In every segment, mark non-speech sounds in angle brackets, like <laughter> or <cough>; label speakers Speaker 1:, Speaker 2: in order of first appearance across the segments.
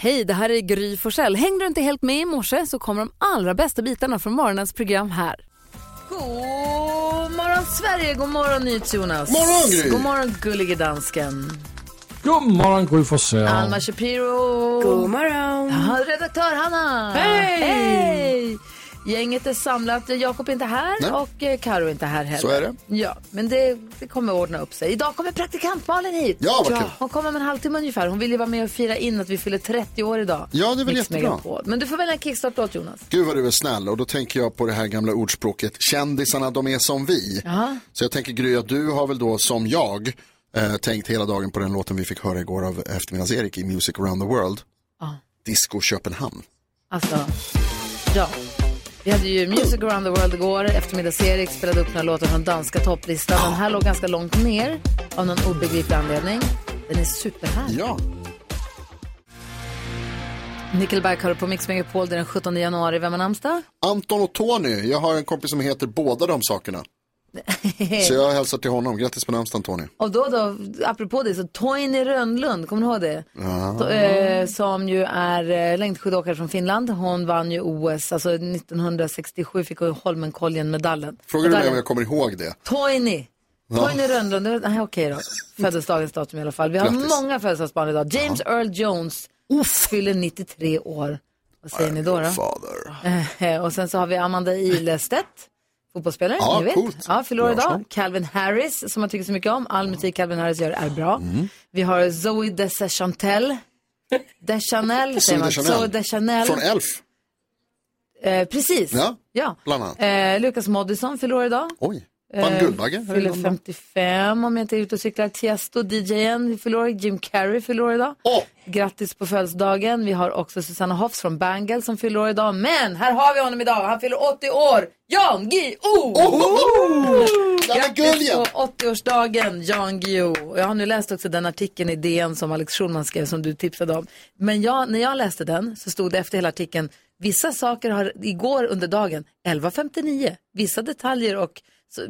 Speaker 1: Hej, det här är Gry Forssell. Hängde du inte helt med i morse så kommer de allra bästa bitarna från morgonens program här. God morgon Sverige, god morgon NyhetsJonas.
Speaker 2: Morgon, Gry.
Speaker 1: God morgon gullige dansken.
Speaker 3: God morgon Gry Forssell.
Speaker 1: Alma Shapiro.
Speaker 4: God morgon.
Speaker 1: Ja, redaktör Hanna.
Speaker 4: Hej.
Speaker 1: Hej. Gänget är samlat. Jakob är inte här
Speaker 2: Nej.
Speaker 1: och eh, Karo är inte här heller.
Speaker 2: Så är det.
Speaker 1: Ja, men det, det kommer ordna upp sig. Idag kommer praktikant Malin hit.
Speaker 2: Ja, vad kul.
Speaker 1: Hon kommer om en halvtimme ungefär. Hon vill ju vara med och fira in att vi fyller 30 år idag.
Speaker 2: Ja, det är väl
Speaker 1: Mix
Speaker 2: jättebra.
Speaker 1: Megapol. Men du får välja en kickstart-låt Jonas.
Speaker 2: Gud vad du är snäll och då tänker jag på det här gamla ordspråket kändisarna de är som vi.
Speaker 1: Ja.
Speaker 2: Så jag tänker Gry att du har väl då som jag eh, tänkt hela dagen på den låten vi fick höra igår av eftermiddags-Erik i Music around the world.
Speaker 1: Ja.
Speaker 2: Disco Köpenhamn.
Speaker 1: Alltså, ja. Vi hade ju Music around the world igår. Eftermiddags-Erik spelade upp några låtar från danska topplistan. Den här låg ganska långt ner av någon obegriplig anledning. Den är superhärlig.
Speaker 2: Ja,
Speaker 1: Nickelback har du på Mix Megapol det är den 17 januari. Vem har namnsdag?
Speaker 2: Anton och Tony. Jag har en kompis som heter båda de sakerna. <laughs> Så jag hälsar till honom. Grattis på namnsdagen Tony.
Speaker 1: Och då då, apropå det, så Toini Rönnlund, kommer du ihåg det?
Speaker 2: Ja.
Speaker 1: To- eh, som ju är eh, längdskidåkare från Finland. Hon vann ju OS, alltså 1967 fick hon Holmenkollen-medaljen.
Speaker 2: Frågar du mig om
Speaker 1: Medaljen.
Speaker 2: jag kommer ihåg det?
Speaker 1: Toini. Toini Rönnlund, det var- nej okej då. Födelsedagens datum i alla fall. Vi har
Speaker 2: Grattis.
Speaker 1: många födelsedagsbarn idag. James Earl Jones fyller 93 år. Vad säger ni då? då?
Speaker 2: Fader.
Speaker 1: Eh, Och sen så har vi Amanda Ilestedt, <laughs> fotbollsspelare.
Speaker 2: Ja,
Speaker 1: ni vet.
Speaker 2: coolt.
Speaker 1: Ja, förlorar
Speaker 2: Bra
Speaker 1: idag.
Speaker 2: slag.
Speaker 1: Calvin Harris, som jag tycker så mycket om. All musik Calvin Harris gör är bra. Vi har Zoe Deschantel. Deschanel säger man. Zoe Deschanel.
Speaker 2: Från Elf.
Speaker 1: Eh, precis.
Speaker 2: Ja,
Speaker 1: ja.
Speaker 2: bland annat.
Speaker 1: Eh, Lukas Moodysson fyller år idag.
Speaker 2: Oj. Vann
Speaker 1: Eh,
Speaker 2: Guldbagge. här i
Speaker 1: Fyller
Speaker 2: London.
Speaker 1: 55 om jag inte är ute och cyklar. Tiesto, DJn, fyller år. Jim Carrey fyller år idag.
Speaker 2: Åh,
Speaker 1: Grattis på födelsedagen. Vi har också Susanna Hoffs från Bangle som fyller år idag. Men här har vi honom idag. Han fyller 80 år. Jan Guillou!
Speaker 2: där är
Speaker 1: Grattis
Speaker 2: guljen!
Speaker 1: på 80-årsdagen, Jan Guillou. Och Jag har nu läst också den artikeln i DN som Alex Schulman skrev som du tipsade om. Men jag, när jag läste den så stod det efter hela artikeln, vissa saker har igår under dagen, 11.59, vissa detaljer och så-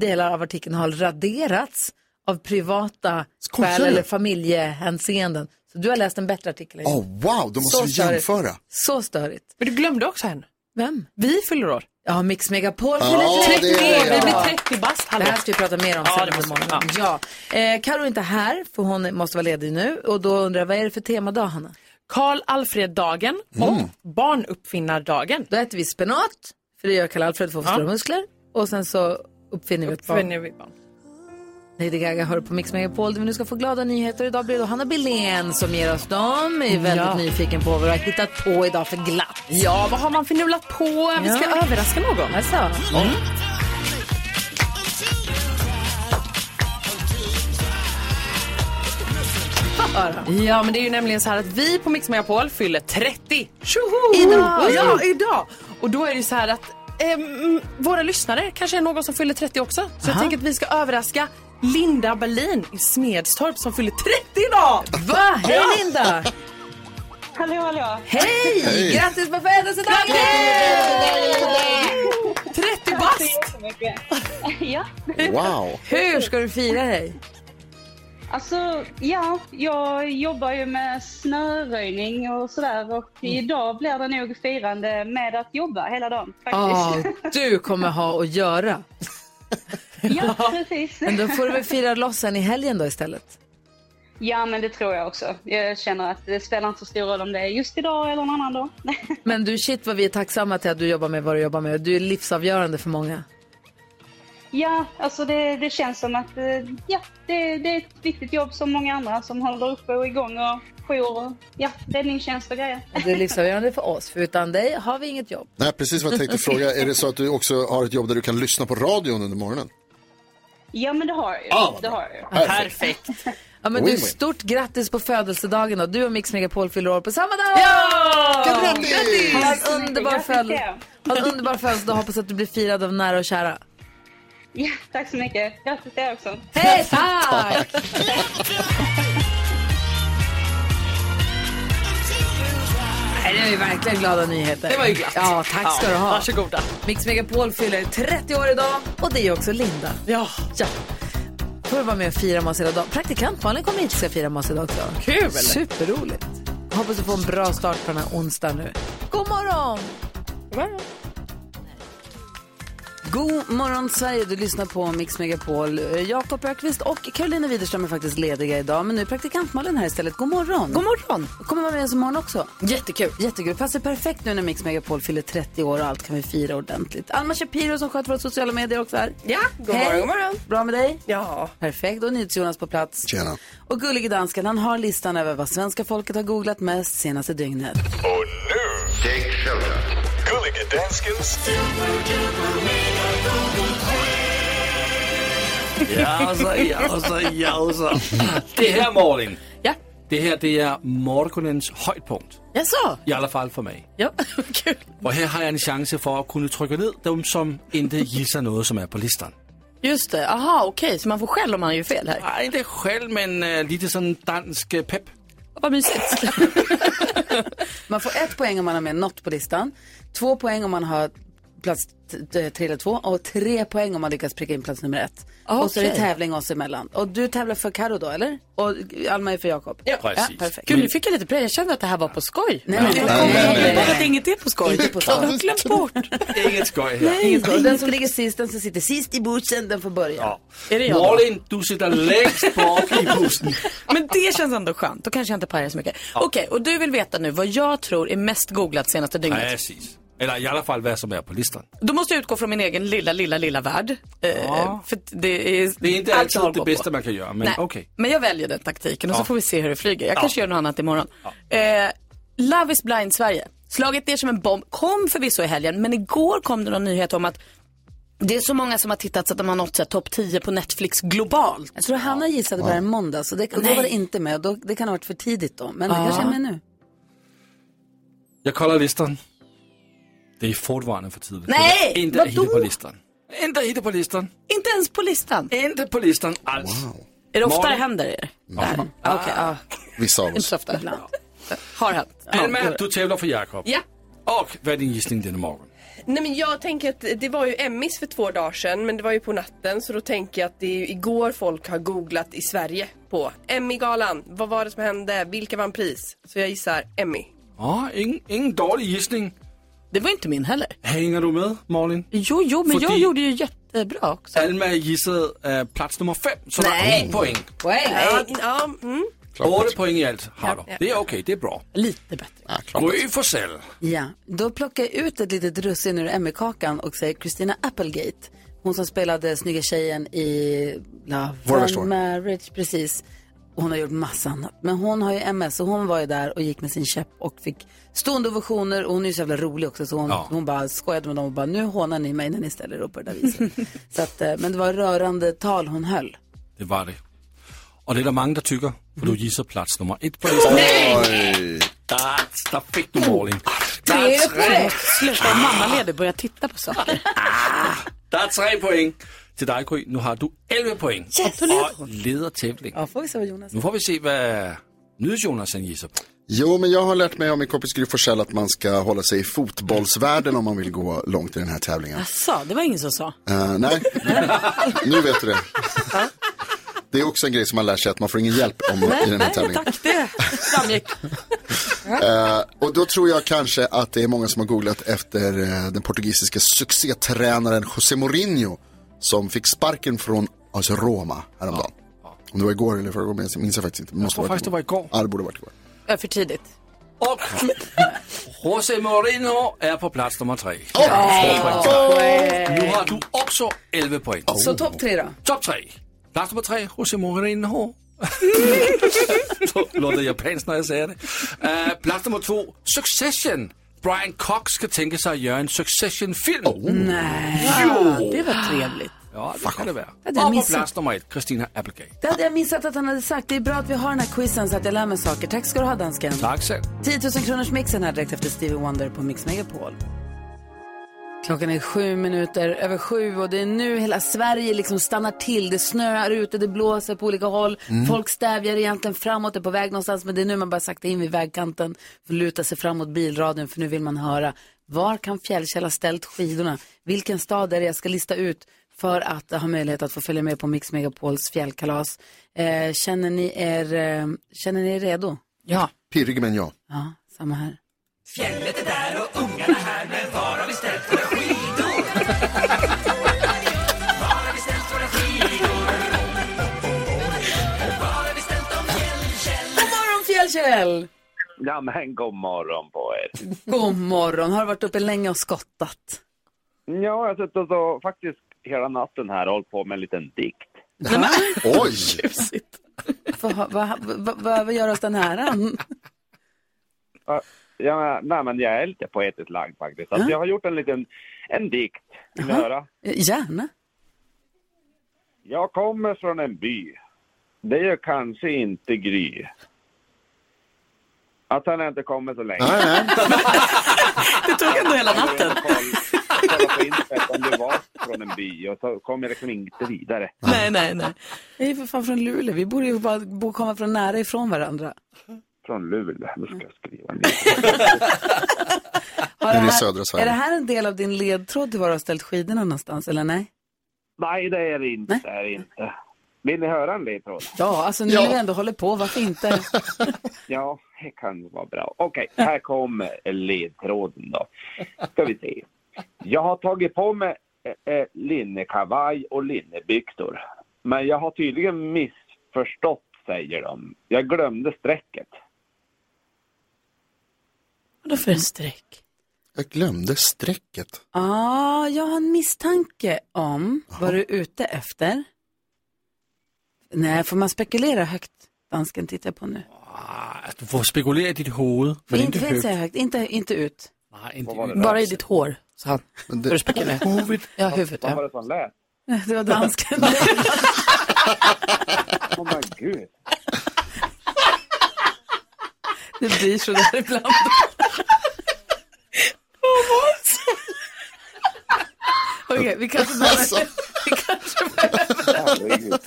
Speaker 1: delar av artikeln har raderats av privata
Speaker 2: Skojar
Speaker 1: skäl
Speaker 2: du?
Speaker 1: eller familjehänseenden. Så du har läst en bättre artikel än jag.
Speaker 2: Åh, wow, då måste
Speaker 1: Så
Speaker 2: vi
Speaker 1: störigt.
Speaker 2: jämföra.
Speaker 1: Så störigt.
Speaker 4: Men du glömde också en.
Speaker 1: Vem?
Speaker 4: Vi fyller år.
Speaker 1: Ja, Mix Megapol
Speaker 2: Ja,
Speaker 1: fyller
Speaker 2: det är
Speaker 1: 30 år.
Speaker 2: det.
Speaker 4: Vi
Speaker 1: Ja.
Speaker 4: blir 30 bast.
Speaker 1: Det
Speaker 4: hallå.
Speaker 1: här ska vi prata mer om
Speaker 4: Ja,
Speaker 1: sen
Speaker 4: det
Speaker 1: under
Speaker 4: måste vi.
Speaker 1: morgonen. Ja. Eh, Karo är inte här, för hon måste vara ledig nu. Och då undrar jag, vad är det för temadag, Hanna?
Speaker 4: Karl Alfred-dagen och barnuppfinnardagen.
Speaker 1: Då äter vi spenat, för det gör Karl Alfred för att få
Speaker 4: Ja.
Speaker 1: stora muskler. Och sen så uppfinner vi ett barn.
Speaker 4: Uppfinner vi barn. <laughs>
Speaker 1: Lady Gaga hör på Mix Megapol där vi nu ska få glada nyheter. Idag blir det då Hanna Billén som ger oss dem. Jag är väldigt
Speaker 4: Ja.
Speaker 1: nyfiken på vad du har hittat på idag för glatt.
Speaker 4: Ja, vad har man finurlat på? Vi ska
Speaker 1: Ja.
Speaker 4: överraska någon.
Speaker 1: Alltså.
Speaker 4: Ja, men det är ju nämligen så här att vi på Mix Megapol fyller 30. Tjoho!
Speaker 1: Idag,
Speaker 4: Ja, idag! Och då är det ju så här att ehm, våra lyssnare kanske är någon som fyller 30 också. Så jag tänker att vi ska överraska Linda Berlin i Smedstorp som fyller 30 idag!
Speaker 1: Va? Hej Linda!
Speaker 5: Hallå, hallå.
Speaker 1: Hej!
Speaker 2: Hej.
Speaker 1: Grattis på födelsedagen!
Speaker 4: 30
Speaker 5: Tack
Speaker 4: bast!
Speaker 5: så jättemycket. <laughs> ja,
Speaker 2: Wow.
Speaker 1: Hur ska du fira dig?
Speaker 5: alltså, ja, jag jobbar ju med snöröjning och sådär och
Speaker 1: Mm.
Speaker 5: idag blir det nog firande med att jobba hela
Speaker 1: <laughs>
Speaker 5: dagen
Speaker 1: Ja,
Speaker 5: faktiskt.
Speaker 1: Ah, du kommer ha att göra.
Speaker 5: ja, precis.
Speaker 1: Men då får du väl fira loss sen i helgen då istället.
Speaker 5: <laughs> Ja, men det tror jag också. Jag känner att det spelar inte så stor roll om det är just idag eller någon annan dag. <laughs>
Speaker 1: Men du, shit vad vi är tacksamma till att du jobbar med vad du jobbar med. Du är livsavgörande för många.
Speaker 5: ja, alltså det, det känns som att eh, ja, det, det är ett viktigt jobb som många andra som håller uppe och igång och jour och ja, räddningstjänst och grejer.
Speaker 1: Och
Speaker 5: <laughs>
Speaker 1: Du är livsavgörande för oss, för utan dig har vi inget jobb.
Speaker 2: Nej, precis vad jag tänkte fråga. Är det så att du också har ett jobb där du kan lyssna på radion under morgonen?
Speaker 5: Ja, men det har jag ju.
Speaker 2: Ah, vad
Speaker 5: det
Speaker 2: bra.
Speaker 5: har jag ju.
Speaker 4: Perfekt!
Speaker 1: Ja, men du,
Speaker 2: Win-win.
Speaker 1: stort grattis på födelsedagen då. Du och Mix Megapol fyller år på samma dag!
Speaker 4: Ja!
Speaker 2: Grattis!
Speaker 1: Ha en underbar,
Speaker 5: Grattis
Speaker 1: födel-
Speaker 5: till er.
Speaker 1: ha en underbar födelsedag. Hoppas att du blir firad av nära och kära.
Speaker 5: Ja, tack så mycket. Grattis till er också.
Speaker 1: Hej, tack! Nej, Det är ju verkligen glada nyheter.
Speaker 4: Det var ju glatt.
Speaker 1: Ja, tack ska du ha.
Speaker 4: Varsågoda.
Speaker 1: Mix Megapol fyller 30 år idag och det är också Linda.
Speaker 4: Ja,
Speaker 1: Ja. Får du vara med och fira med oss hela dagen. Praktikant Malin kommer hit och ska fira med oss idag också.
Speaker 4: kul!
Speaker 1: Superroligt.
Speaker 6: Hoppas du får en bra start på den här onsdagen nu. God morgon!
Speaker 1: God morgon Sverige, du lyssnar på Mix Megapol. Eh, Jakob Ökvist och Carolina Widerström är faktiskt lediga idag, men nu är praktikant Malin här istället. God morgon! God morgon! Kommer vara med oss imorgon också. Jättekul! Jättekul, passar perfekt nu när Mix Megapol fyller 30 år och allt kan vi fira ordentligt. Alma Shapiro som sköter våra sociala medier också här.
Speaker 7: Ja, god
Speaker 1: Hej.
Speaker 7: morgon, god morgon.
Speaker 1: Bra med dig?
Speaker 7: Ja.
Speaker 1: Perfekt, och NyhetsJonas på plats.
Speaker 2: Tjena.
Speaker 1: Och gullige dansken, han har listan över vad svenska folket har googlat mest senaste dygnet.
Speaker 8: Och nu, Take Shelter. Gullige Danskens
Speaker 2: alltså,
Speaker 3: Jausa, jausa, jausa. Det her, Morten.
Speaker 7: Ja.
Speaker 3: Det her, det er morgenens højdepunkt.
Speaker 6: Jaså?
Speaker 3: I alle fald for mig.
Speaker 7: <laughs>
Speaker 6: Ja, kul.
Speaker 3: Og her har jeg en chance for at kunne trykke ned dem, som ikke hilser noget, som er på listen.
Speaker 7: Just det, aha okej, så man får skäll om man gör fel här.
Speaker 3: Nej, ikke sjæl, men uh, lige sådan dansk øh, pep.
Speaker 7: Vad mysigt.
Speaker 1: Man får ett poäng om man har med något på listan, två poäng om man har plats t- t- tre eller två och tre poäng om man lyckas pricka in plats nummer ett. Och så är det
Speaker 6: Okej.
Speaker 1: tävling oss emellan. Och du tävlar för Karo då, eller? Och Alma är för Jakob? Ja,
Speaker 3: Præcis.
Speaker 1: perfekt.
Speaker 7: Gud, nu fick jag lite play. Jag kände att det här var på skoj.
Speaker 1: Nej, nej, nej,
Speaker 2: Nej,
Speaker 1: nej,
Speaker 2: nej,
Speaker 1: nej,
Speaker 7: Jag bara
Speaker 1: nej,
Speaker 7: att
Speaker 1: nej.
Speaker 7: inget är på skoj.
Speaker 1: Inte på tal.
Speaker 7: Jag glömt bort.
Speaker 3: Ikke et skøj her.
Speaker 1: Ingen skoj. Den som ligger sist, den som sitter sist i bussen, den får börja.
Speaker 7: Är det jag?
Speaker 3: Morten, du sitter længst
Speaker 7: <laughs>
Speaker 3: bort i bussen.
Speaker 7: Men det känns ändå skönt. Då kanske jag inte pajar så mycket. Okej, och du vill veta nu vad jag tror är mest googlat senaste dygnet.
Speaker 3: Præcis. Eller i alle fald, hvad som er på listen.
Speaker 7: Då måste jag utgå från min egen lilla, lilla, lilla värld. Eh,
Speaker 3: Ja.
Speaker 7: För att det är,
Speaker 3: Det er ikke
Speaker 7: allt
Speaker 3: altid
Speaker 7: jag har
Speaker 3: det
Speaker 7: gått
Speaker 3: bedste,
Speaker 7: på.
Speaker 3: man kan gøre, men
Speaker 7: Nej,
Speaker 3: okay.
Speaker 7: Men jag väljer den taktiken och så
Speaker 3: Ja.
Speaker 7: får vi se hur det flyger. Jag kanske gör något annat imorgon. Eh, Love is blind Sverige. Slaget ner som en bomb. Kom förvisso i helgen, men igår kom det någon nyhet om att det är så många som har tittat så att de har nått så här topp 10 på Netflix globalt.
Speaker 1: Jag tror Hanna gissade på det här i måndags och det, och då var det inte med. Och Då, det kan ha varit för tidigt då, men det kanske är med nu.
Speaker 3: Jeg kolder listeren. Det er fortvarende for tidligt.
Speaker 7: Nej,
Speaker 3: Det er Intet er
Speaker 7: hvad
Speaker 3: hitte
Speaker 7: du?
Speaker 3: på listeren. Intet er hitte på listeren.
Speaker 7: Inte ens på listan.
Speaker 3: Intet på listeren, altså.
Speaker 7: Är det ofta
Speaker 3: Morgon.
Speaker 7: det händer er? Där. Okej,
Speaker 3: Ah.
Speaker 7: ja.
Speaker 2: Vissa av
Speaker 7: Inte
Speaker 2: oss.
Speaker 7: så ofta. <laughs> Har hänt.
Speaker 3: Alma, du tævler for Jakob.
Speaker 9: Ja.
Speaker 3: Og hvad er din gissning denne morgen?
Speaker 9: Nej men jag tänker att det var ju Emmys för två dagar sedan men det var ju på natten så då tänker jag att det är ju igår folk har googlat i Sverige på Emmygalan. Vad var det som hände? Vilka vann pris? Så jeg gissar Emmy.
Speaker 3: Åh, ingen, ingen dårlig gissning.
Speaker 7: Det var inte min heller.
Speaker 3: Hænger du med, Morlin?
Speaker 7: Jo, jo, men
Speaker 3: Fordi-
Speaker 7: jag gjorde ju jättebra också.
Speaker 3: Alma gissede øh, plads nummer 5, så der
Speaker 1: Nej.
Speaker 3: er 1 point.
Speaker 1: Poäng!
Speaker 9: Ja, ja, mm.
Speaker 3: 8 point i alt har du.
Speaker 9: Ja, ja.
Speaker 3: Det er okay, det er bra.
Speaker 7: Lite bättre.
Speaker 2: Ja, klart.
Speaker 3: Gry for selv.
Speaker 1: Ja, då plockar jag ut ett litet russin ur Emmy-kakan och säger Christina Applegate. Hon som spelade snygga tjejen i Love
Speaker 2: Våra
Speaker 1: and
Speaker 2: förstår.
Speaker 1: Marriage, precis. Hon har gjort massa annat. Men hon har ju MS och hon var ju där och gick med sin käpp och fick stående ovationer. Och hon är ju så jävla rolig också så hon,
Speaker 3: Ja.
Speaker 1: hon bara skojade med dem och bara nu hånar ni mig när ni ställer upp på det där viset. så att, eh, men det var rörande tal hon höll.
Speaker 3: Det var det. Og det er der mange, der tykker, for
Speaker 7: Mhm.
Speaker 3: du gisser plads nummer 1 på listen.
Speaker 2: Oj.
Speaker 3: Der, der fik du, Morlin. Der er tre,
Speaker 7: Sluta vara mammaledig och börja titta på saker.
Speaker 3: der er tre point til dig, Gry. Nu har du 11 point. Yes. Og leder tævling.
Speaker 1: Ja, får vi se vad Jonas
Speaker 3: Nu får vi se, hvad nyhedsjonas han gisser på.
Speaker 2: Jo, men jag har lärt mig av min kompis Gry Forssell att man ska hålla sig i fotbollsvärlden om man vill gå långt i den här tävlingen.
Speaker 7: Sa, det var ingen som sa.
Speaker 2: Eh, nej, nu vet du det. Det är också en grej som man lär sig att man får ingen hjälp om i den här tävlingen.
Speaker 7: Tack, det
Speaker 2: <laughs>
Speaker 7: framgick.
Speaker 2: Eh, och då tror jag kanske att det är många som har googlat efter eh, den portugisiska succétränaren José Mourinho som fick sparken från AS Roma häromdagen. Om det var igår eller förrgår minns minns jag faktiskt inte. Men måste
Speaker 3: tror
Speaker 2: ha varit
Speaker 3: faktiskt det var igår.
Speaker 2: Ja, det borde ha varit igår.
Speaker 7: Ö, För tidigt.
Speaker 3: Og Jose Mourinho er på plads nummer 3.
Speaker 2: alltså.
Speaker 3: Nu har du også 11 point.
Speaker 1: Så topp tre då?
Speaker 3: Top 3. Plads nummer 3, Jose Mourinho. Så lå det japansk, når jeg sagde det. Uh, plads nummer 2, Succession. Brian Cox skal tænke sig at gøre en Succession-film.
Speaker 7: Ja, det var trevligt.
Speaker 3: Ja, det kan det være.
Speaker 1: det er
Speaker 3: Og på
Speaker 1: misset.
Speaker 3: plads nummer 1, Christina Applegate.
Speaker 1: Det hade jag missat att han hade sagt. Det är bra att vi har den här quizen så att jag lär mig saker. Tack ska du ha dansken.
Speaker 3: Tak selv.
Speaker 1: 10 000 kronors mixen här direkt efter Stevie Wonder på Mix Megapol. Klockan är sju minuter över sju och det är nu hela Sverige liksom stannar till. Det snöar ute, det blåser på olika håll. Folk stävjar egentligen framåt, är på väg någonstans. Men det är nu man bara sakta in vid vägkanten, för luta sig framåt bilradion för nu vill man höra. Var kan Fjällkäll ha ställt skidorna? Vilken stad är det jag ska lista ut för att ha möjlighet att få följa med på Mix Megapols fjällkalas? Eh, känner, ni er, eh, känner ni er redo?
Speaker 7: Ja.
Speaker 2: Pirrig men ja.
Speaker 1: Ja, samma här.
Speaker 8: Fjället är där och ungarna här, men var har vi ställt våra skidor? Var har vi ställt våra skidor? Var har vi ställt dem, Fjällkäll?
Speaker 1: God morgon Fjällkäll!
Speaker 10: Ja, men god morgon på er.
Speaker 1: God morgon. Har du varit uppe länge och skottat?
Speaker 10: Ja, jag har suttit och så, faktiskt hela natten här och hållit på med en liten dikt.
Speaker 2: Oj!
Speaker 1: Vad va, va, va, vad gör oss den här?
Speaker 10: Ja, men- nej, men jag är lite poetiskt lagd faktiskt. Så att
Speaker 1: Ja.
Speaker 10: Jag har gjort en liten en dikt. Vill ni höra?
Speaker 1: Gärna.
Speaker 10: Jag kommer från en by. Det är kanske inte Gry. Att han inte kommer så länge. <laughs>
Speaker 7: Det tog ändå hela natten.
Speaker 10: Kolla på internet om du var från en by och så kom jag liksom inte vidare.
Speaker 7: Nej, nej, nej.
Speaker 1: Jag är för fan från Luleå. Vi borde ju bara bo, komma från nära ifrån varandra.
Speaker 10: Från Luleå. Nu ska jag skriva ner.
Speaker 1: <laughs> Har
Speaker 2: Nu är det
Speaker 1: här-
Speaker 2: södra Sverige.
Speaker 1: Är det här en del av din ledtråd till var du har ställt skidorna någonstans, eller nej?
Speaker 10: Nej, det är det inte. Det är det inte. Vill ni höra en ledtråd?
Speaker 1: Ja, alltså nu
Speaker 2: Ja.
Speaker 1: när vi ändå håller på,
Speaker 2: <laughs>
Speaker 1: varför inte?
Speaker 10: Ja, det kan vara bra. Okej, här kommer ledtråden då. Ska vi se. Jag har tagit på mig eh, eh, linnekavaj och linnebyxor. Men jag har tydligen missförstått, säger de. Jag glömde strecket.
Speaker 7: Vadå för en streck?
Speaker 2: Jag glömde strecket.
Speaker 1: ah, jag har en misstanke om vad du är ute efter. Nej, får man spekulera högt? Dansken tittar jag på nu.
Speaker 3: Ah, du får spekulera i ditt huvud, men
Speaker 1: inte
Speaker 3: inte
Speaker 1: helt
Speaker 3: högt.
Speaker 1: säga högt, inte, inte ut.
Speaker 3: Nej, inte
Speaker 7: Bara i ditt hår, sa han.
Speaker 2: Men det-
Speaker 7: För
Speaker 3: <laughs>
Speaker 7: att spekulera.
Speaker 3: huvudet.
Speaker 7: Ja, huvudet.
Speaker 10: Vad
Speaker 7: Ja.
Speaker 10: var det som lät?
Speaker 1: Det
Speaker 10: <laughs>
Speaker 1: var dansken.
Speaker 10: Åh men gud.
Speaker 1: Det blir så där ibland. Okej, vi kanske behöver...
Speaker 2: Alltså.
Speaker 1: Vi kanske,
Speaker 10: Herregud.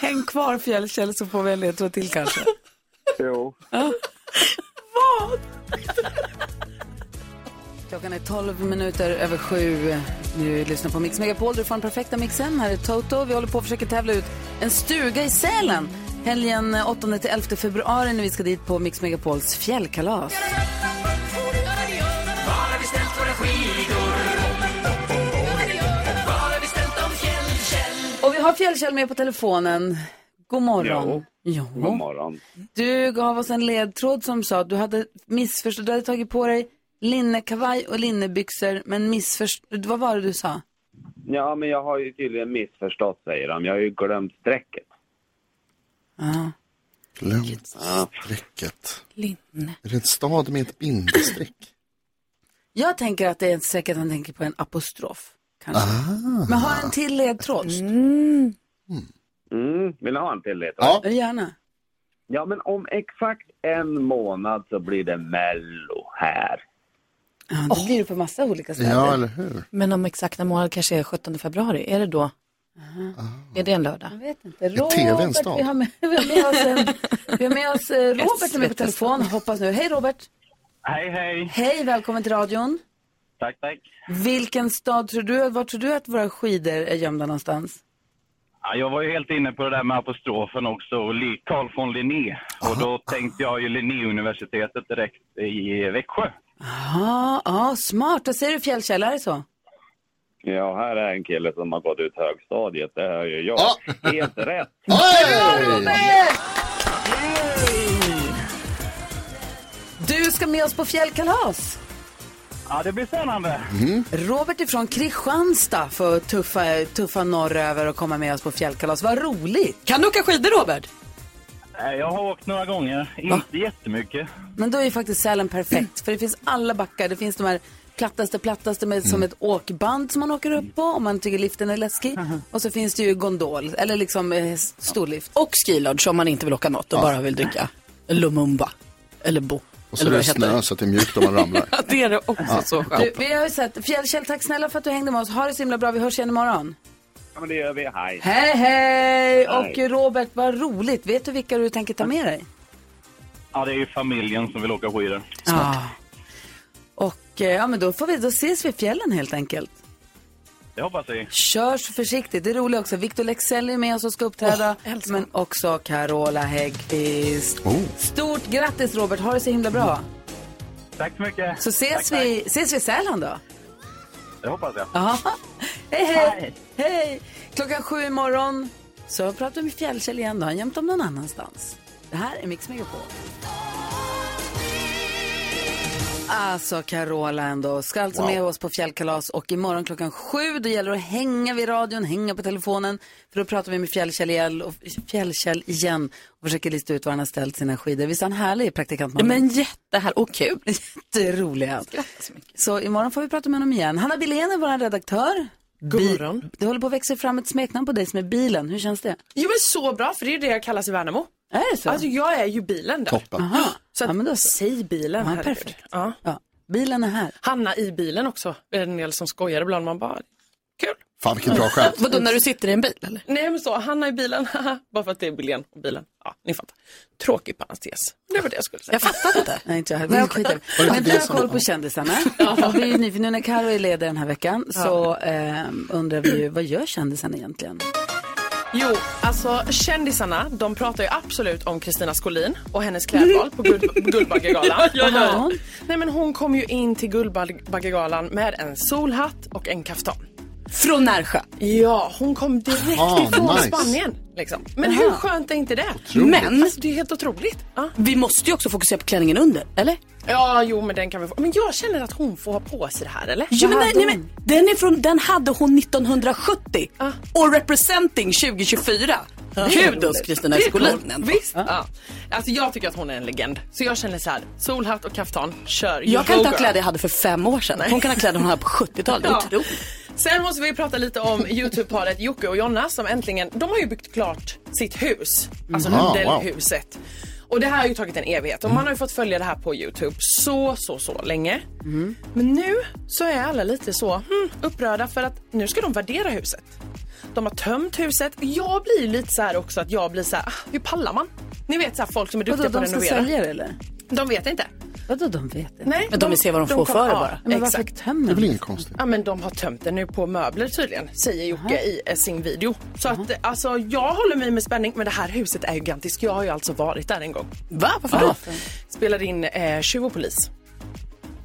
Speaker 1: häng kvar Fjällkäll så får vi en ledtråd till kanske.
Speaker 10: Jo.
Speaker 1: Klockan är 12 minuter över sju. Nu lyssnar på Mix Megapol. Du får den perfekta mixen. Här är Toto. Vi håller på att försöka tävla ut en stuga i Sälen. Helgen 8-11 februari när vi ska dit på Mix Megapols fjällkalas.
Speaker 8: Var har vi ställt våra skidor? Var har vi ställt dem, Fjällkäll?
Speaker 1: Och vi har Fjällkäll med på telefonen. God morgon. Jo.
Speaker 10: God morgon.
Speaker 1: Du gav oss en ledtråd som sa att du hade missförstått, du hade tagit på dig linnekavaj och linnebyxor men missförstått, vad var det du sa?
Speaker 10: Ja, men jag har ju tydligen missförstått, säger de. Jag har ju glömt strecket.
Speaker 2: Glömt strecket.
Speaker 4: Mm.
Speaker 7: Linne.
Speaker 2: Är det en stad med ett bindestreck?
Speaker 1: Jag tänker att det är säkert han tänker på en apostrof. Kanske.
Speaker 2: Ah.
Speaker 1: Men har en till ledtråd?
Speaker 10: Mm, vill ni ha en till ledtråd?
Speaker 2: Ja.
Speaker 1: Gärna.
Speaker 10: Ja, men om exakt en månad så blir det Mello här.
Speaker 1: Ja, det blir det på massa olika ställen.
Speaker 2: Ja, eller hur?
Speaker 7: Men om exakta månad kanske är 17 februari, är det då? Är det en lördag?
Speaker 1: Jag vet inte.
Speaker 2: TV en
Speaker 1: Robert,
Speaker 2: stad?
Speaker 1: vi har med, vi har med oss, en, vi har med oss eh, Robert som är på telefon, hoppas nu. Hej Robert!
Speaker 10: Hej, hej.
Speaker 1: Hej, välkommen till radion.
Speaker 10: Tack, tack.
Speaker 1: Vilken stad tror du, var tror du att våra skidor är gömda någonstans?
Speaker 10: Ja, jag var ju helt inne på det där med apostrofen också, och Li- Carl von Linné. Och då tänkte jag ju Linnéuniversitetet direkt i Växjö.
Speaker 1: Ja, ja, Ah, smart. Vad säger du Fjällkäll, är det så?
Speaker 10: Ja, här är en kille som har gått ut högstadiet, det hör ju jag.
Speaker 2: Ja.
Speaker 10: Helt
Speaker 2: <laughs>
Speaker 10: rätt.
Speaker 2: Oj!
Speaker 1: Du ska med oss på fjällkalas.
Speaker 10: Ja, det blir spännande.
Speaker 1: Mhm.
Speaker 7: Mm.
Speaker 1: Robert ifrån Kristianstad får tuffa, tuffa norröver och komma med oss på fjällkalas. Vad roligt!
Speaker 7: Kan du åka skidor, Robert?
Speaker 10: Eh, Jag har åkt några gånger, inte jättemycket.
Speaker 1: Men då är ju faktiskt Sälen perfekt, för det finns alla backar. Det finns de här plattaste, plattaste med,
Speaker 7: Mm.
Speaker 1: som ett åkband som man åker upp på om man tycker liften är läskig. Och så finns det ju gondol, eller liksom eh, storlift.
Speaker 7: Och skilodge om man inte vill åka något och bara vill dricka Lumumba. Eller Bo.
Speaker 2: Och så är
Speaker 7: Eller vad
Speaker 2: det
Speaker 7: det heter.
Speaker 2: snö så att det är mjukt om man ramlar.
Speaker 7: Ja, det är det också så skönt.
Speaker 1: Du, vi har ju sett, Fjällkäll, tack snälla för att du hängde med oss. Ha det så himla bra, vi hörs igen imorgon.
Speaker 10: Ja, men det gör vi. Hej.
Speaker 1: Hej, hej!
Speaker 10: Hej.
Speaker 1: Och eh, Robert, vad roligt. Vet du vilka du tänker ta med dig?
Speaker 10: Ja, det är ju familjen som vill åka skidor.
Speaker 1: Ja. Och eh, ja, men då, får vi, då ses vi i fjällen helt enkelt.
Speaker 11: Det hoppas vi.
Speaker 1: Kör så försiktigt. Det är roligt också. Victor Lexell är med oss och ska uppträda. men också Carola Häggkvist.
Speaker 11: Oh.
Speaker 1: Stort grattis Robert. Ha det så himla bra.
Speaker 11: Tack så mycket.
Speaker 1: Så ses
Speaker 11: tack,
Speaker 1: vi ses vi i Sälen då.
Speaker 11: Tack. Det hoppas jag.
Speaker 1: Ja. Hej, hej. hej. Klockan sju imorgon så pratar vi med Fjällkäll igen. Då har han gömt dem någon annanstans. Det här är Mix Megapol. Alltså Carola ändå, ska alltså med oss på fjällkalas och imorgon klockan sju då gäller det att hänga vid radion, hänga på telefonen för då pratar vi med Fjällkäll igen och, fjällkäll igen och försöker lista ut var han har ställt sina skidor. Visst är han härlig praktikant Malin?
Speaker 7: Men jättehär och
Speaker 1: <laughs>
Speaker 7: kul.
Speaker 1: Jätterolig är han. Så imorgon får vi prata med honom igen. Hanna Billén är vår redaktör. God morgon. Det håller på att växa fram ett smeknamn på dig som är bilen. Hur känns det?
Speaker 4: Jo men så bra, för det är ju det jag kallas i Värnamo.
Speaker 1: Är det så?
Speaker 4: Alltså jag är ju bilen där.
Speaker 1: Toppen. Aha.
Speaker 4: Så att,
Speaker 1: Ja, men då så.
Speaker 4: säg bilen.
Speaker 1: Ja,
Speaker 4: herregud.
Speaker 1: perfekt.
Speaker 4: Ja.
Speaker 1: Bilen är här.
Speaker 4: Hanna i bilen också. Det är en del som skojar ibland. Man bara,
Speaker 2: Fan vilken bra skämt.
Speaker 4: Vadå, när du
Speaker 7: sitter i en bil eller?
Speaker 4: nej men så, Hanna i bilen, <laughs> haha. bara för att det är bilen och bilen. Ja, ni fattar. Tråkig parentes. Det var det jag skulle säga.
Speaker 7: Jag fattar inte.
Speaker 1: Nej, inte jag heller. Men skit i det.
Speaker 4: Var det
Speaker 1: Men
Speaker 4: inte
Speaker 1: vi
Speaker 4: det
Speaker 1: har
Speaker 4: som-
Speaker 1: koll på kändisarna. Och vi är ju nyfikna. Nu när Karo är ledig den här veckan så ehm, undrar vi ju, vad gör kändisarna egentligen?
Speaker 4: Jo, alltså kändisarna, de pratar ju absolut om Kristina Skolin och hennes klädval på Guld-
Speaker 10: <laughs>
Speaker 4: <laughs> Guldbaggegalan.
Speaker 1: Ja, ja, ja.
Speaker 4: Aha. Nej men hon kom ju in till Guldbaggegalan med en solhatt och en kaftan.
Speaker 7: Från Närsjö.
Speaker 4: Ja, hon kom direkt
Speaker 7: Ah,
Speaker 4: ifrån
Speaker 7: nice.
Speaker 4: Spanien. Liksom. Men
Speaker 7: Aha.
Speaker 4: hur skönt är inte det?
Speaker 7: Otroligt. Men-
Speaker 4: alltså, det är helt otroligt. Ja.
Speaker 7: Vi måste ju också fokusera på klänningen under, eller?
Speaker 4: ja, jo men den kan vi få. Men jag känner att hon får ha på sig det här eller?
Speaker 7: Ja, men
Speaker 4: Vad
Speaker 7: nej,
Speaker 4: hade
Speaker 7: nej,
Speaker 4: hon?
Speaker 7: men, den, är från, den hade hon 1970 och representing 2024.
Speaker 4: Ja.
Speaker 7: Kudos Kristina
Speaker 4: Det är
Speaker 7: Skolin.
Speaker 4: coolt.
Speaker 7: ändå.
Speaker 4: Visst. Ja. Alltså jag tycker att hon är en legend. Så jag känner så här, solhatt och kaftan, kör. You
Speaker 7: Jag kan
Speaker 4: go,
Speaker 7: inte ha
Speaker 4: girl.
Speaker 7: kläder jag hade för fem år sedan. Hon kan ha kläder hon hade på 70-talet.
Speaker 4: Ja.
Speaker 7: Otroligt.
Speaker 4: Sen måste vi prata lite om Youtube-paret Jocke och Jonna som äntligen, de har ju byggt klart sitt hus. Alltså
Speaker 1: Mm.
Speaker 7: Mhm. Ah,
Speaker 4: modelhuset. Och det här har ju tagit en evighet och man har ju fått följa det här på Youtube så, så, så länge.
Speaker 1: Mm.
Speaker 4: Men nu så är alla lite så hmm, upprörda för att nu ska de värdera huset. De har tömt huset. Jag blir ju lite så här också att jag blir så här, ah, hur pallar man? Ni vet så här folk som är
Speaker 1: Vadå,
Speaker 4: duktiga på
Speaker 1: de
Speaker 4: att
Speaker 1: ska
Speaker 4: renovera.
Speaker 1: sälja det eller?
Speaker 4: De vet inte.
Speaker 1: Vadå, de vet inte?
Speaker 4: Nej, Men de vill de- se vad de de får kom- för det ja, bara.
Speaker 1: Men varför
Speaker 4: exakt.
Speaker 1: tömmer de?
Speaker 2: konstigt.
Speaker 4: Ja men de har tömt den nu på möbler tydligen, säger Jocke i eh, sin video. Så att eh, alltså jag håller mig med spänning, men det här huset är ju gigantiskt. Jag har ju alltså varit där en gång. Va? Varför då? Spelade in eh, Tjuv och polis.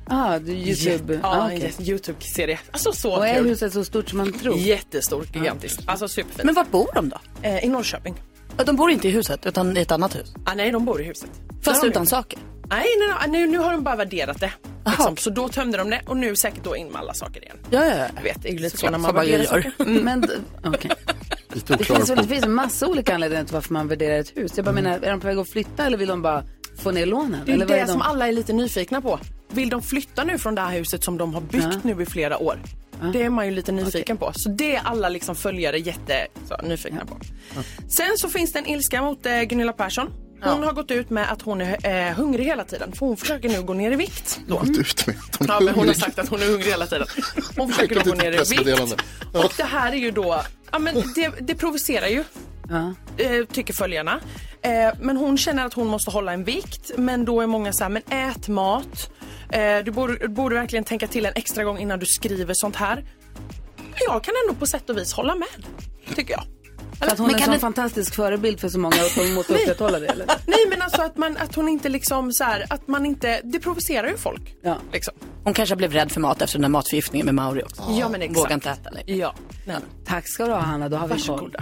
Speaker 1: Ah, du, Youtube.
Speaker 4: Ja,
Speaker 1: Ah,
Speaker 4: en
Speaker 1: okej.
Speaker 4: jätte- Youtube-serie. Alltså så
Speaker 1: Och är
Speaker 4: kul.
Speaker 1: huset så stort som man tror?
Speaker 4: Jättestort, gigantiskt. Alltså superfint.
Speaker 7: Men vart bor de då?
Speaker 4: Eh, I Norrköping.
Speaker 7: De bor inte i huset utan i ett annat hus.
Speaker 4: Ah, nej, de bor i huset.
Speaker 7: Fast
Speaker 4: Där har de
Speaker 7: utan
Speaker 4: gjort.
Speaker 7: saker.
Speaker 4: Nej, nej, nej nu, nu har de bara värderat det. Liksom. Så då tömde de det och nu säkert då in med alla saker igen.
Speaker 7: Ja, ja, ja.
Speaker 4: Jag vet, det är ju lite så,
Speaker 7: Såklart,
Speaker 4: när man
Speaker 7: som man ju
Speaker 4: värderar
Speaker 7: gör.
Speaker 4: saker.
Speaker 1: Mm.
Speaker 4: Mm.
Speaker 1: Men, d- okej.
Speaker 2: Lite
Speaker 1: Det
Speaker 2: oklar
Speaker 1: finns, väl,
Speaker 2: på.
Speaker 1: det finns en massa olika anledningar till varför man värderar ett hus. Jag bara menar, är de på väg att flytta eller vill de bara få ner lånen?
Speaker 4: Mm. Det är
Speaker 1: eller vad
Speaker 4: det
Speaker 1: de?
Speaker 4: som alla är lite nyfikna på. Vill de flytta nu från det här huset som de har byggt nu i flera år? Det är man ju lite nyfiken på. Så det är alla liksom följare jätte så, nyfikna på. Sen så finns det en ilska mot eh, Gunilla Persson. Hon har gått ut med att hon är eh, hungrig hela tiden. För hon försöker nu gå ner i vikt. Då.
Speaker 2: Gått ut med att hon är
Speaker 4: Ja, men hon har
Speaker 2: hungrig.
Speaker 4: sagt att hon är hungrig hela tiden. Hon försöker
Speaker 2: Skickat
Speaker 4: då gå
Speaker 2: ut ett
Speaker 4: ner i
Speaker 2: pressmeddelande.
Speaker 4: vikt. Och det här är ju då, ja men det, det provocerar ju. Eh, tycker följarna. Eh, men hon känner att hon måste hålla en vikt. Men då är många så här, men ät mat. Eh, du borde, du borde verkligen tänka till en extra gång innan du skriver sånt här. Jag kan ändå på sätt och vis hålla med, tycker jag.
Speaker 1: För att hon
Speaker 4: Men
Speaker 1: är en
Speaker 4: kan
Speaker 1: sån
Speaker 4: det-
Speaker 1: fantastisk förebild för så många och de måste upprätthålla det eller?
Speaker 4: <laughs> Nej men alltså att, man, att hon inte liksom så här, att man inte, det provocerar ju folk.
Speaker 1: Ja.
Speaker 4: Liksom.
Speaker 7: Hon kanske blev rädd för mat efter den där matförgiftningen med Mauri också.
Speaker 4: Ja, men exakt.
Speaker 7: Vågar inte äta längre.
Speaker 4: Ja. Nej.
Speaker 1: Tack ska du ha Hanna, då har vi koll.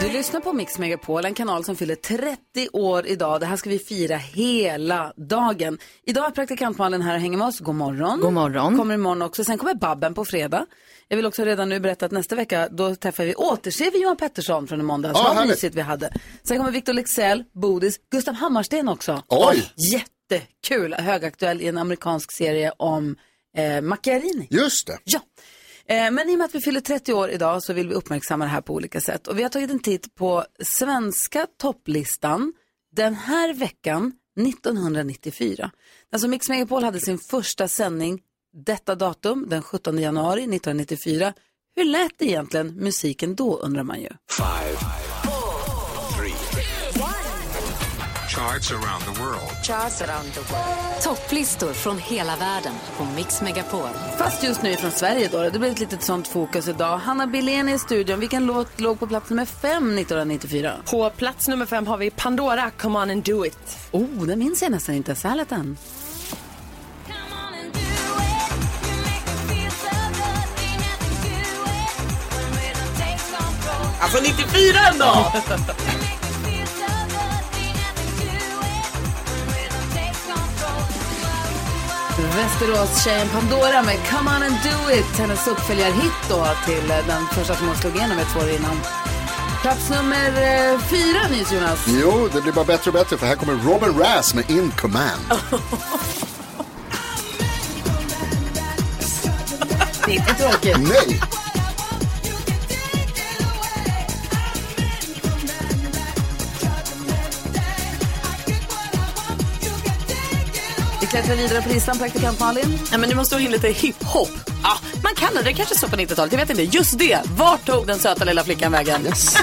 Speaker 1: Du lyssnar på Mix Megapol, en kanal som fyller 30 år idag. Det här ska vi fira hela dagen. Idag är praktikantmalen här och hänger med oss. God morgon. God
Speaker 7: morgon.
Speaker 1: Kommer imorgon också. Sen kommer Babben på fredag. Jag vill också redan nu berätta att nästa vecka då träffar vi, återser vi Johan Pettersson från i måndags.
Speaker 2: Ah,
Speaker 1: Vad
Speaker 2: härligt.
Speaker 1: mysigt vi hade. Sen kommer Victor Lexell, Bodis, Gustav Hammarsten också.
Speaker 2: Oj.
Speaker 1: Jättekul, högaktuell i en amerikansk serie om eh, Macchiarini.
Speaker 2: Just det.
Speaker 1: Ja. Eh, Men i och med att vi fyller 30 år idag så vill vi uppmärksamma det här på olika sätt. Och vi har tagit en titt på svenska topplistan den här veckan 1994. Alltså Mix Megapol hade sin första sändning detta datum, den 17 januari 1994. Hur lät det egentligen musiken då undrar man ju.
Speaker 8: Five, four, three,
Speaker 12: Charts around the world.
Speaker 1: Topplistor från hela världen på Mix Megapol. Fast just nu från Sverige då. Det blir ett litet sånt fokus idag. Hanna Billén är i studion. Vilken låt låg på plats nummer fem 1994?
Speaker 4: På plats nummer fem har vi Pandora, Come on and do it.
Speaker 1: Oh, den minns jag nästan inte. Så här lät den.
Speaker 8: Alltså 94 ändå!
Speaker 1: Västerås-tjejen Pandora med Come On And Do It. Hennes uppföljarhit då till eh, den första som hon slog igenom ett år innan. Plats nummer eh, fyra, nyss Jonas.
Speaker 2: Jo, det blir bara bättre och bättre för här kommer Robin Rass med In Command.
Speaker 1: <laughs> Det är inte tråkigt.
Speaker 2: Nej!
Speaker 1: Vi klättrar vidare på listan, praktikant Malin.
Speaker 7: Ja, men du måste ha in lite hiphop. Ja, man kan det. Det kanske så på 90-talet. Jag vet inte. Just det. Vart tog den söta lilla flickan vägen?
Speaker 2: Yes.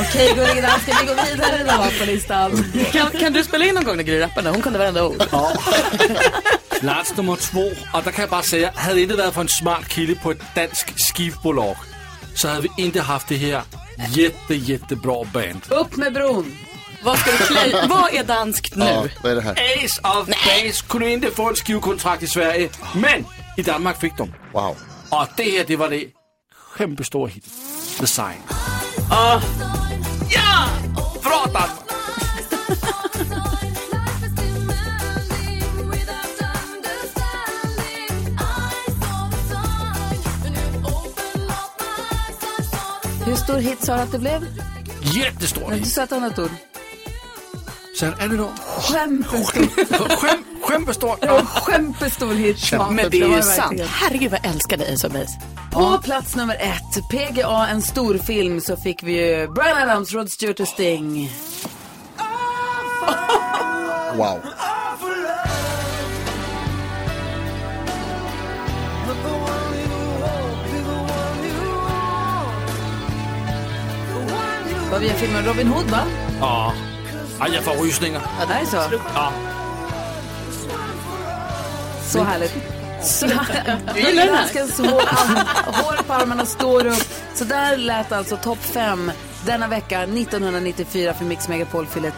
Speaker 1: Okej, gullige dansken, vi går vidare då på listan.
Speaker 7: <laughs> Kan, kan du spela in någon gång när Gry rappade? Hon kunde varenda ord.
Speaker 3: Plats nummer två, och där kan jag bara säga, hade det inte varit för en smart kille på ett danskt skivbolag så hade vi inte haft det här jätte, jättebra band.
Speaker 1: Upp med bron.
Speaker 7: Vad ska
Speaker 2: <laughs>
Speaker 7: du klä Vad är danskt nu?
Speaker 3: Ja,
Speaker 2: vad är det här?
Speaker 3: Ace of Base kunde inte få en skivkontrakt i Sverige, men i Danmark fick de.
Speaker 2: Wow.
Speaker 3: Och det här, det var det kämpestora hit. The Sign.
Speaker 8: Ah. Ja! Bra <laughs> Danmark!
Speaker 1: Hur stor hit sa du att det blev?
Speaker 3: Jättestor
Speaker 1: Du
Speaker 3: hit.
Speaker 1: sa att det var något ord.
Speaker 3: Sen är det då skämpestor.
Speaker 1: Skämpestor hit.
Speaker 7: Men det är ju sant.
Speaker 1: verkligen.
Speaker 7: Herregud vad jag älskade Ace of Base.
Speaker 1: På plats nummer ett, PGA, en stor film, så fick vi ju Bryan Adams, Rod Stewart och Sting.
Speaker 2: Wow.
Speaker 1: Vad vi har filmen Robin Hood, va?
Speaker 3: Ja. Ej, jag får rysningar.
Speaker 1: Ja, det är så.
Speaker 3: Ja.
Speaker 1: Så härligt. <laughs> Så
Speaker 8: Du gillar den här?
Speaker 1: Danskens hår, arm- hår på armarna står upp. Så där lät alltså topp fem denna vecka 1994 för Mix Megapol fyller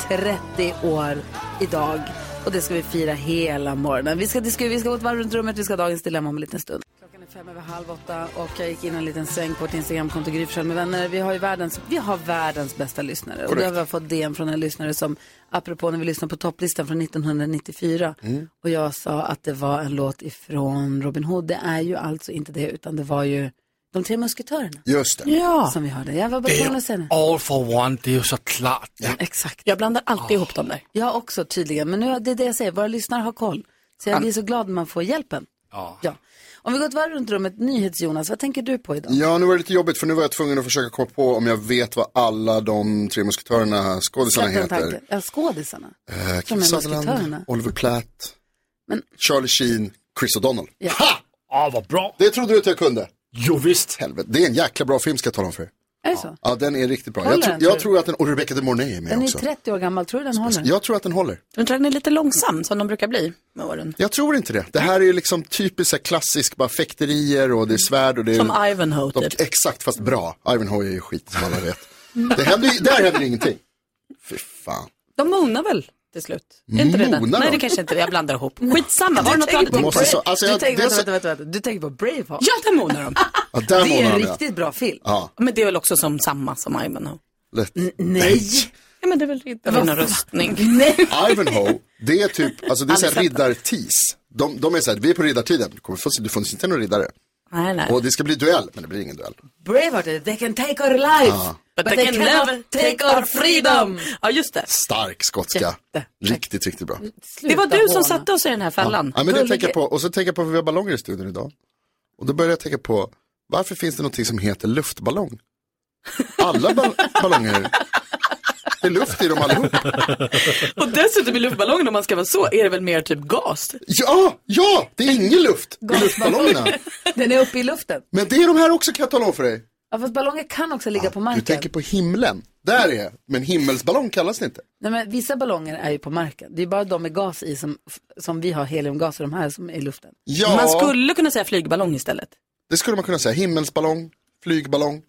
Speaker 1: 30 år idag. Och det ska vi fira hela morgonen. Vi ska, disku- vi ska gå ett varv runt rummet, vi ska ha dagens dilemma om en liten stund. Klockan är fem över halv åtta och jag gick in en liten sväng på ett Instagramkonto, Gry Forssell med vänner. Vi har ju världens, vi har världens bästa lyssnare. Och då har vi fått DM från en lyssnare som, apropå när vi lyssnade på topplistan från 1994,
Speaker 7: Mm.
Speaker 1: och jag sa att det var en låt ifrån Robin Hood. Det är ju alltså inte det, utan det var ju De tre musketörerna.
Speaker 2: Just det.
Speaker 1: Ja. Som vi hörde. Jag var bara
Speaker 3: Det är
Speaker 1: tvungen att säga det.
Speaker 3: All for one, det är ju såklart. Ja.
Speaker 1: Exakt.
Speaker 7: Jag blandar alltid ihop dem där.
Speaker 1: Jag också tydligen, men nu, det är det jag säger, våra lyssnare har koll. Så jag blir så glad när man får hjälpen.
Speaker 3: Ja.
Speaker 1: Om vi går ett varv runt rummet, NyhetsJonas, vad tänker du på idag?
Speaker 2: Ja, nu var det lite jobbigt för nu var jag tvungen att försöka komma på om jag vet vad alla de tre musketörerna, skådisarna
Speaker 1: Släpp den
Speaker 2: heter.
Speaker 1: tanken. Ja, skådisarna.
Speaker 2: Eh,
Speaker 1: Som är
Speaker 2: Kim Sutherland,
Speaker 1: musketörerna.
Speaker 2: Oliver Platt, Charlie Sheen, Chris O'Donnell.
Speaker 1: Ja.
Speaker 2: Ha!
Speaker 3: Ja, vad bra.
Speaker 2: Det trodde du att jag kunde.
Speaker 3: Jo, visst.
Speaker 2: Helvete, det är en jäkla bra film ska jag tala om för er.
Speaker 1: Är det så?
Speaker 2: Ja, den är riktigt bra.
Speaker 1: Håller
Speaker 2: Jag, tro,
Speaker 1: den, tror
Speaker 2: jag
Speaker 1: du?
Speaker 2: tror att den, och Rebecca de Mornay är med
Speaker 1: Den är
Speaker 2: också.
Speaker 1: 30 år gammal, tror du den håller?
Speaker 2: Jag tror att den håller.
Speaker 7: Jag tror den är lite långsam som de brukar bli med åren.
Speaker 2: Jag tror inte det. Det här är ju liksom typiskt så här klassisk, bara fäkterier och det
Speaker 1: Mm.
Speaker 2: är svärd och det är...
Speaker 7: Som Ivanhoe,
Speaker 2: de,
Speaker 1: typ.
Speaker 2: Exakt, fast bra. Ivanhoe är ju skit som alla vet. Mm. Det händer ju, där händer ingenting. Fy fan.
Speaker 7: De monar väl till slut? Är inte det den?
Speaker 2: Monar
Speaker 7: Nej,
Speaker 2: de?
Speaker 7: det kanske inte är. Jag blandar ihop. Skitsamma, var det något du hade
Speaker 2: Man
Speaker 7: tänkt
Speaker 2: måste
Speaker 7: på?
Speaker 2: så- alltså, jag-
Speaker 7: du tänkte,
Speaker 2: det är
Speaker 7: vänta,
Speaker 2: så-
Speaker 7: vänta,
Speaker 1: vänta, vänta, du tänker på Braveheart?
Speaker 7: Ja, där monar
Speaker 1: <laughs>
Speaker 7: de.
Speaker 2: Ja, där
Speaker 7: Det är
Speaker 2: månar
Speaker 7: en
Speaker 2: de, ja.
Speaker 7: riktigt
Speaker 1: bra film.
Speaker 2: Ja,
Speaker 7: Men det är väl också som samma som Ivanhoe?
Speaker 2: lätt.
Speaker 1: Nej!
Speaker 7: Ja, men det är väl inte någon röstning.
Speaker 2: Ivanhoe, det är typ, alltså det är såhär
Speaker 7: Aldrig sett den.
Speaker 2: riddartis. De, de är såhär, vi är på riddartiden, du kommer få se, du får inte någon riddare.
Speaker 7: Nej, nej.
Speaker 2: Och det ska bli duell, Ah. men det blir ingen duell.
Speaker 1: Braveheart, är det. they can take our life.
Speaker 2: Ja.
Speaker 7: But they can never take our freedom. Ja, just det.
Speaker 2: Stark skotska. Riktigt, riktigt bra.
Speaker 7: Det var du som satte oss i den här fällan.
Speaker 2: Ja, men det tänker jag på. Och så tänker jag på, vi har ballonger i studion idag. Och då började jag tänka på, varför finns det någonting som heter luftballong? Alla ball ballonger, det är luft i dem allihop.
Speaker 7: <laughs> Och dessutom i luftballongen, om man ska vara så, är det väl mer typ gas?
Speaker 2: Ja, ja, det är ingen luft i luftballongerna.
Speaker 6: Den är uppe i luften.
Speaker 2: Men det är de här också kan jag tala om för dig.
Speaker 6: Ja, fast ballonger kan också ligga på
Speaker 2: Du
Speaker 6: marken.
Speaker 2: tänker på himlen, där är, men himmelsballong kallas det inte.
Speaker 1: Nej, men vissa ballonger är ju på marken. Det är bara de med gas i som, som vi har heliumgas och de här som är i luften.
Speaker 2: Ja. Man skulle
Speaker 7: kunna säga flygballong istället.
Speaker 2: Det skulle man kunna säga, himmelsballong, flygballong,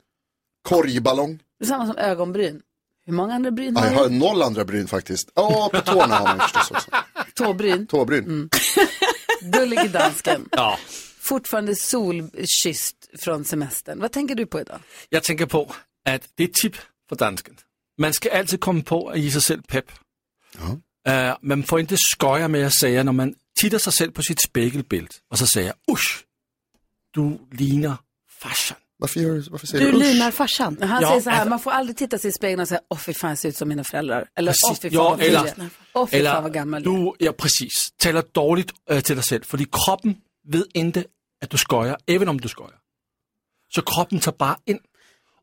Speaker 2: korgballong.
Speaker 1: Det är samma som ögonbryn. Hur många andra bryn
Speaker 2: Ja,
Speaker 1: har
Speaker 2: jag har
Speaker 1: du?
Speaker 2: noll andra bryn faktiskt. Ja, på tårna har man förstås också.
Speaker 1: Tåbryn.
Speaker 2: Tåbryn.
Speaker 1: Gullig
Speaker 2: <laughs>
Speaker 1: dansken.
Speaker 3: Ja.
Speaker 1: Fortfarande solkysst från semestern. Vad tänker du på idag?
Speaker 3: Jag tänker på att det är ett tip för dansken. Man ska alltid komma på att ge sig själv pepp. Eh, man får inte skoja med att säga när man tittar sig själv på sitt spegelbild och så säger usch, du lignar farsan.
Speaker 2: Varför, gör, varför
Speaker 1: säger Du du usch? linar
Speaker 7: farsan.
Speaker 1: Han
Speaker 3: Ja,
Speaker 1: säger så här,
Speaker 3: alltså-
Speaker 1: man får aldrig titta sig i spegeln och säga, åh fy fan, jag ser ut som mina föräldrar. Eller, åh fy
Speaker 3: Alltså,
Speaker 1: fan,
Speaker 3: ja,
Speaker 1: vad ful jag
Speaker 3: eller,
Speaker 1: är." Åh fy fan, vad gammal jag är.
Speaker 3: du, ja precis, talar dåligt äh, till dig själv. För kroppen vet inte att du skojar, även om du skojar. Så kroppen tar bara in.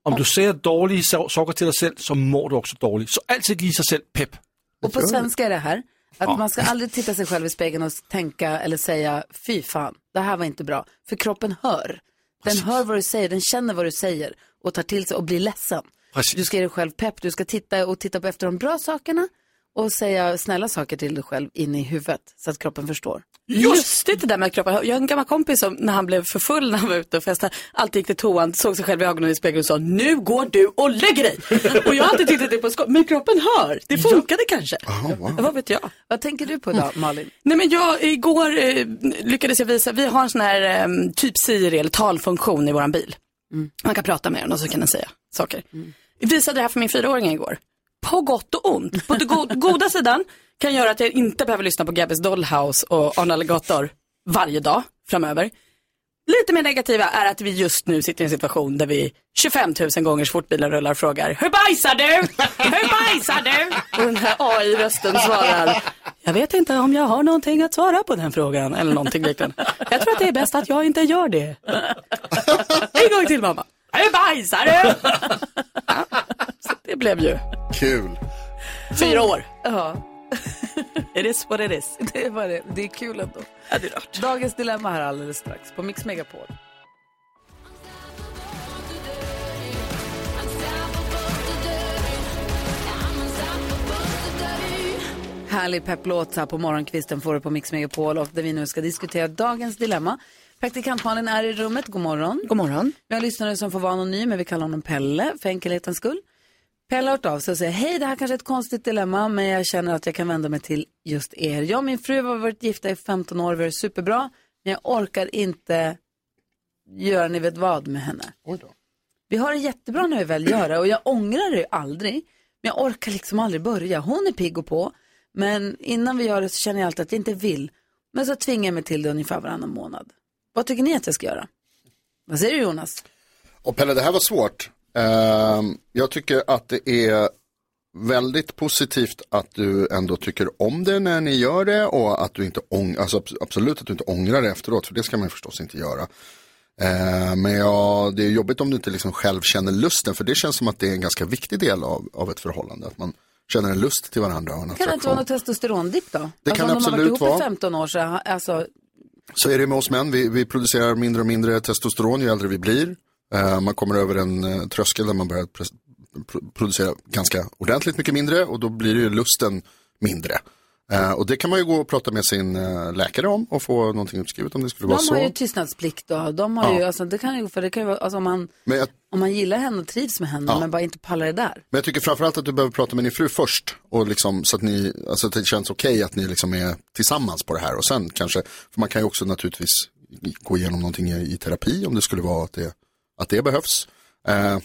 Speaker 3: Om du säger dåliga so- saker till dig själv så mår du också dåligt. Så alltid ge sig själv pepp.
Speaker 1: Och på svenska är det här, att
Speaker 3: Ja.
Speaker 1: man ska aldrig titta sig själv i spegeln och tänka eller säga, fy fan, det här var inte bra. För kroppen hör. Den hör vad du säger, den känner vad du säger och tar till sig och blir ledsen.
Speaker 3: Precis.
Speaker 1: Du ska ge dig själv pepp, du ska titta och titta på efter de bra sakerna och säga snälla saker till dig själv in i huvudet så att kroppen förstår.
Speaker 7: Just det, det där med att kroppen. Jag har en gammal kompis som när han blev för full när han var ute och festade, alltid gick till toan, såg sig själv i ögonen i spegeln och sa nu går du och
Speaker 2: <laughs>
Speaker 7: lägger dig. och jag har alltid tyckt att det är på skoj, men kroppen hör. Det funkade kanske. Vad vet jag?
Speaker 1: Vad tänker du på idag, Malin?
Speaker 7: Nej men jag, igår eh, lyckades jag visa, vi har en sån här eh, typ Siri eller talfunktion i våran bil. Man kan prata med den och så kan den säga saker. Jag visade det här för min fyraåring igår. På gott och ont. På den go- goda sidan kan göra att jag inte behöver lyssna på Gabbys Dollhouse och Arne Alligator varje dag framöver. Lite mer negativa är att vi just nu sitter i en situation där vi 25 000 gånger så fort bilen rullar och frågar Hur bajsar du? Hur bajsar du? Och <laughs> den här AI-rösten svarar Jag vet inte om jag har någonting att svara på den frågan eller någonting liknande. Jag tror att det är bäst att jag inte gör det. En gång till mamma. Hur bajsar du? Ja, Så det blev ju
Speaker 2: Kul.
Speaker 7: fyra år.
Speaker 1: Ja.
Speaker 7: It is what it is.
Speaker 1: Det var det. Det är kul ändå.
Speaker 7: Ja, det är rart.
Speaker 1: Dagens dilemma här alldeles strax på Mix Megapol. Härlig pepplåt så här på morgonkvisten får du på Mix Megapol och där vi nu ska diskutera dagens dilemma. Praktikant Malin är i rummet. God morgon.
Speaker 7: God morgon.
Speaker 1: Vi har lyssnare som får vara anonym, men vi kallar honom Pelle för enkelhetens skull. Pelle har hört av sig och säger, hej det här kanske är ett konstigt dilemma, men jag känner att jag kan vända mig till just er. Jag och min fru har varit gifta i 15 år, vi har det superbra, men jag orkar inte göra ni vet vad med henne. Vi har det jättebra när vi väl gör det och jag ångrar det ju aldrig. Men jag orkar liksom aldrig börja. Hon är pigg och på. Men innan vi gör det så känner jag alltid att jag inte vill. Men så tvingar jag mig till det ungefär varannan månad. Vad tycker ni att jag ska göra? Vad säger du Jonas?
Speaker 2: Och Pelle, det här var svårt. Ehm, jag tycker att det är väldigt positivt att du ändå tycker om det när ni gör det och att du inte ång- alltså, abs- absolut att du inte ångrar det efteråt, för det ska man ju förstås inte göra. Ehm, men ja, det är jobbigt om du inte liksom själv känner lusten, för det känns som att det är en ganska viktig del av, av ett förhållande, att man känner en lust till varandra och en
Speaker 1: Kan det inte
Speaker 2: attraktion.
Speaker 1: vara något testosterondipp då? Alltså,
Speaker 2: Det kan
Speaker 1: om de har
Speaker 2: absolut
Speaker 1: varit ihop
Speaker 2: vara.
Speaker 1: i 15 år så, ha- alltså,
Speaker 2: Så är det med oss män, vi, vi producerar mindre och mindre testosteron ju äldre vi blir. Eh, man kommer över en eh, tröskel där man börjar pres- pro- producera ganska ordentligt mycket mindre och då blir ju lusten mindre. Eh, och det kan man ju gå och prata med sin eh, läkare om och få någonting utskrivet om det skulle
Speaker 1: de
Speaker 2: vara
Speaker 1: har ju
Speaker 2: så.
Speaker 1: tystnadsplikt och de har
Speaker 2: Ja.
Speaker 1: ju, alltså, det kan ju, för det kan ju vara, alltså, om, man,
Speaker 2: Men jag,
Speaker 1: om man gillar henne och trivs med henne
Speaker 2: Ja.
Speaker 1: men bara inte pallar det där.
Speaker 2: men jag tycker framförallt att du behöver prata med din fru först och liksom, så att, ni, alltså, att det känns okej att ni liksom är tillsammans på det här och sen kanske, för man kan ju också naturligtvis gå igenom någonting i, i terapi om det skulle vara att det, att det behövs. Eh,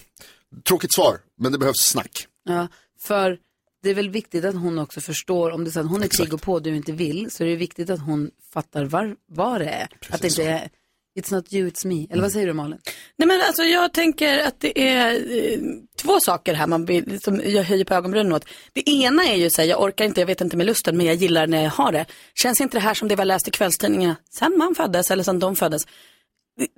Speaker 2: tråkigt svar, men det behövs snack.
Speaker 1: Ja, för det är väl viktigt att hon också förstår, om det är så att hon är pigg och på och du inte vill, så är det viktigt att hon fattar var, vad det är. att det inte är It's not you, it's me.
Speaker 2: Mm.
Speaker 1: Eller vad säger du Malin?
Speaker 7: Nej men alltså jag tänker att det är eh, två saker här man vill, som jag höjer på ögonbrynen åt. Det ena är ju så här, jag orkar inte, jag vet inte med lusten, men jag gillar när jag har det. Känns inte det här som det vi har läst i kvällstidningarna, sen man föddes eller sen de föddes.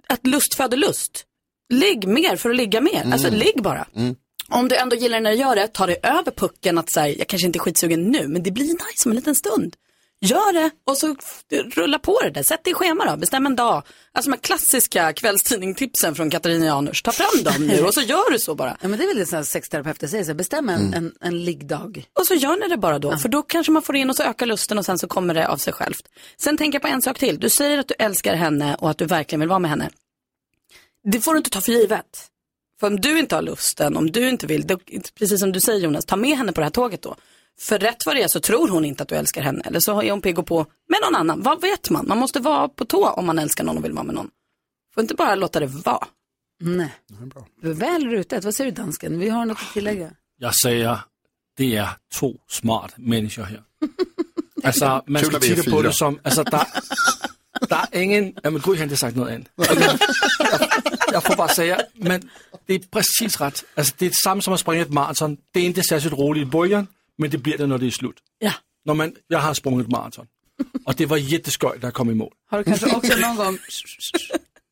Speaker 7: Att lust föder lust. Ligg mer för att ligga mer, alltså ligg bara.
Speaker 2: Mm.
Speaker 7: Om du ändå gillar när du gör det, ta dig över pucken att säga, jag kanske inte är skitsugen nu, men det blir nice om en liten stund. Gör det och så f- rulla på det där. Sätt det i schema då, bestäm en dag. Alltså de här klassiska kvällstidningtipsen från Katarina Janouch, ta fram dem nu och så gör du så bara.
Speaker 1: Ja, men det är väl det som sexterapeuter säger, så här, bestäm en,
Speaker 7: Mm.
Speaker 1: en, en liggdag.
Speaker 7: Och så gör ni det bara då, för då kanske man får in och så ökar lusten och sen så kommer det av sig självt. Sen tänker jag på en sak till. Du säger att du älskar henne och att du verkligen vill vara med henne. Det får du inte ta för givet. För om du inte har lusten, om du inte vill, då, precis som du säger Jonas, ta med henne på det här tåget då. För rätt vad det är så tror hon inte att du älskar henne, eller så är hon pigg och på med någon annan. Vad vet man? Man måste vara på tå om man älskar någon och vill vara med någon. Får inte bara låta det vara.
Speaker 1: Nej. Väl rutet. Vad säger du dansken? Vi har något att tillägga.
Speaker 3: Jeg siger, det er to smart mennesker her.
Speaker 7: Alltså,
Speaker 3: altså, man
Speaker 2: Kul,
Speaker 3: skal
Speaker 2: at vi er
Speaker 3: kigge på
Speaker 2: fire.
Speaker 3: det som, altså, der, der er ingen... Jamen, Gud, han har sagt noget andet. Jeg får bare sige, men det er præcis ret. Altså, det er det samme som at springe et maraton. Det er ikke særligt roligt i bølgen, men det bliver det, når det er slut.
Speaker 7: Ja.
Speaker 3: Når man, jeg har sprunget et maraton, og det var jätteskøjt, der kom i mål.
Speaker 1: Har du kanske också någon gång...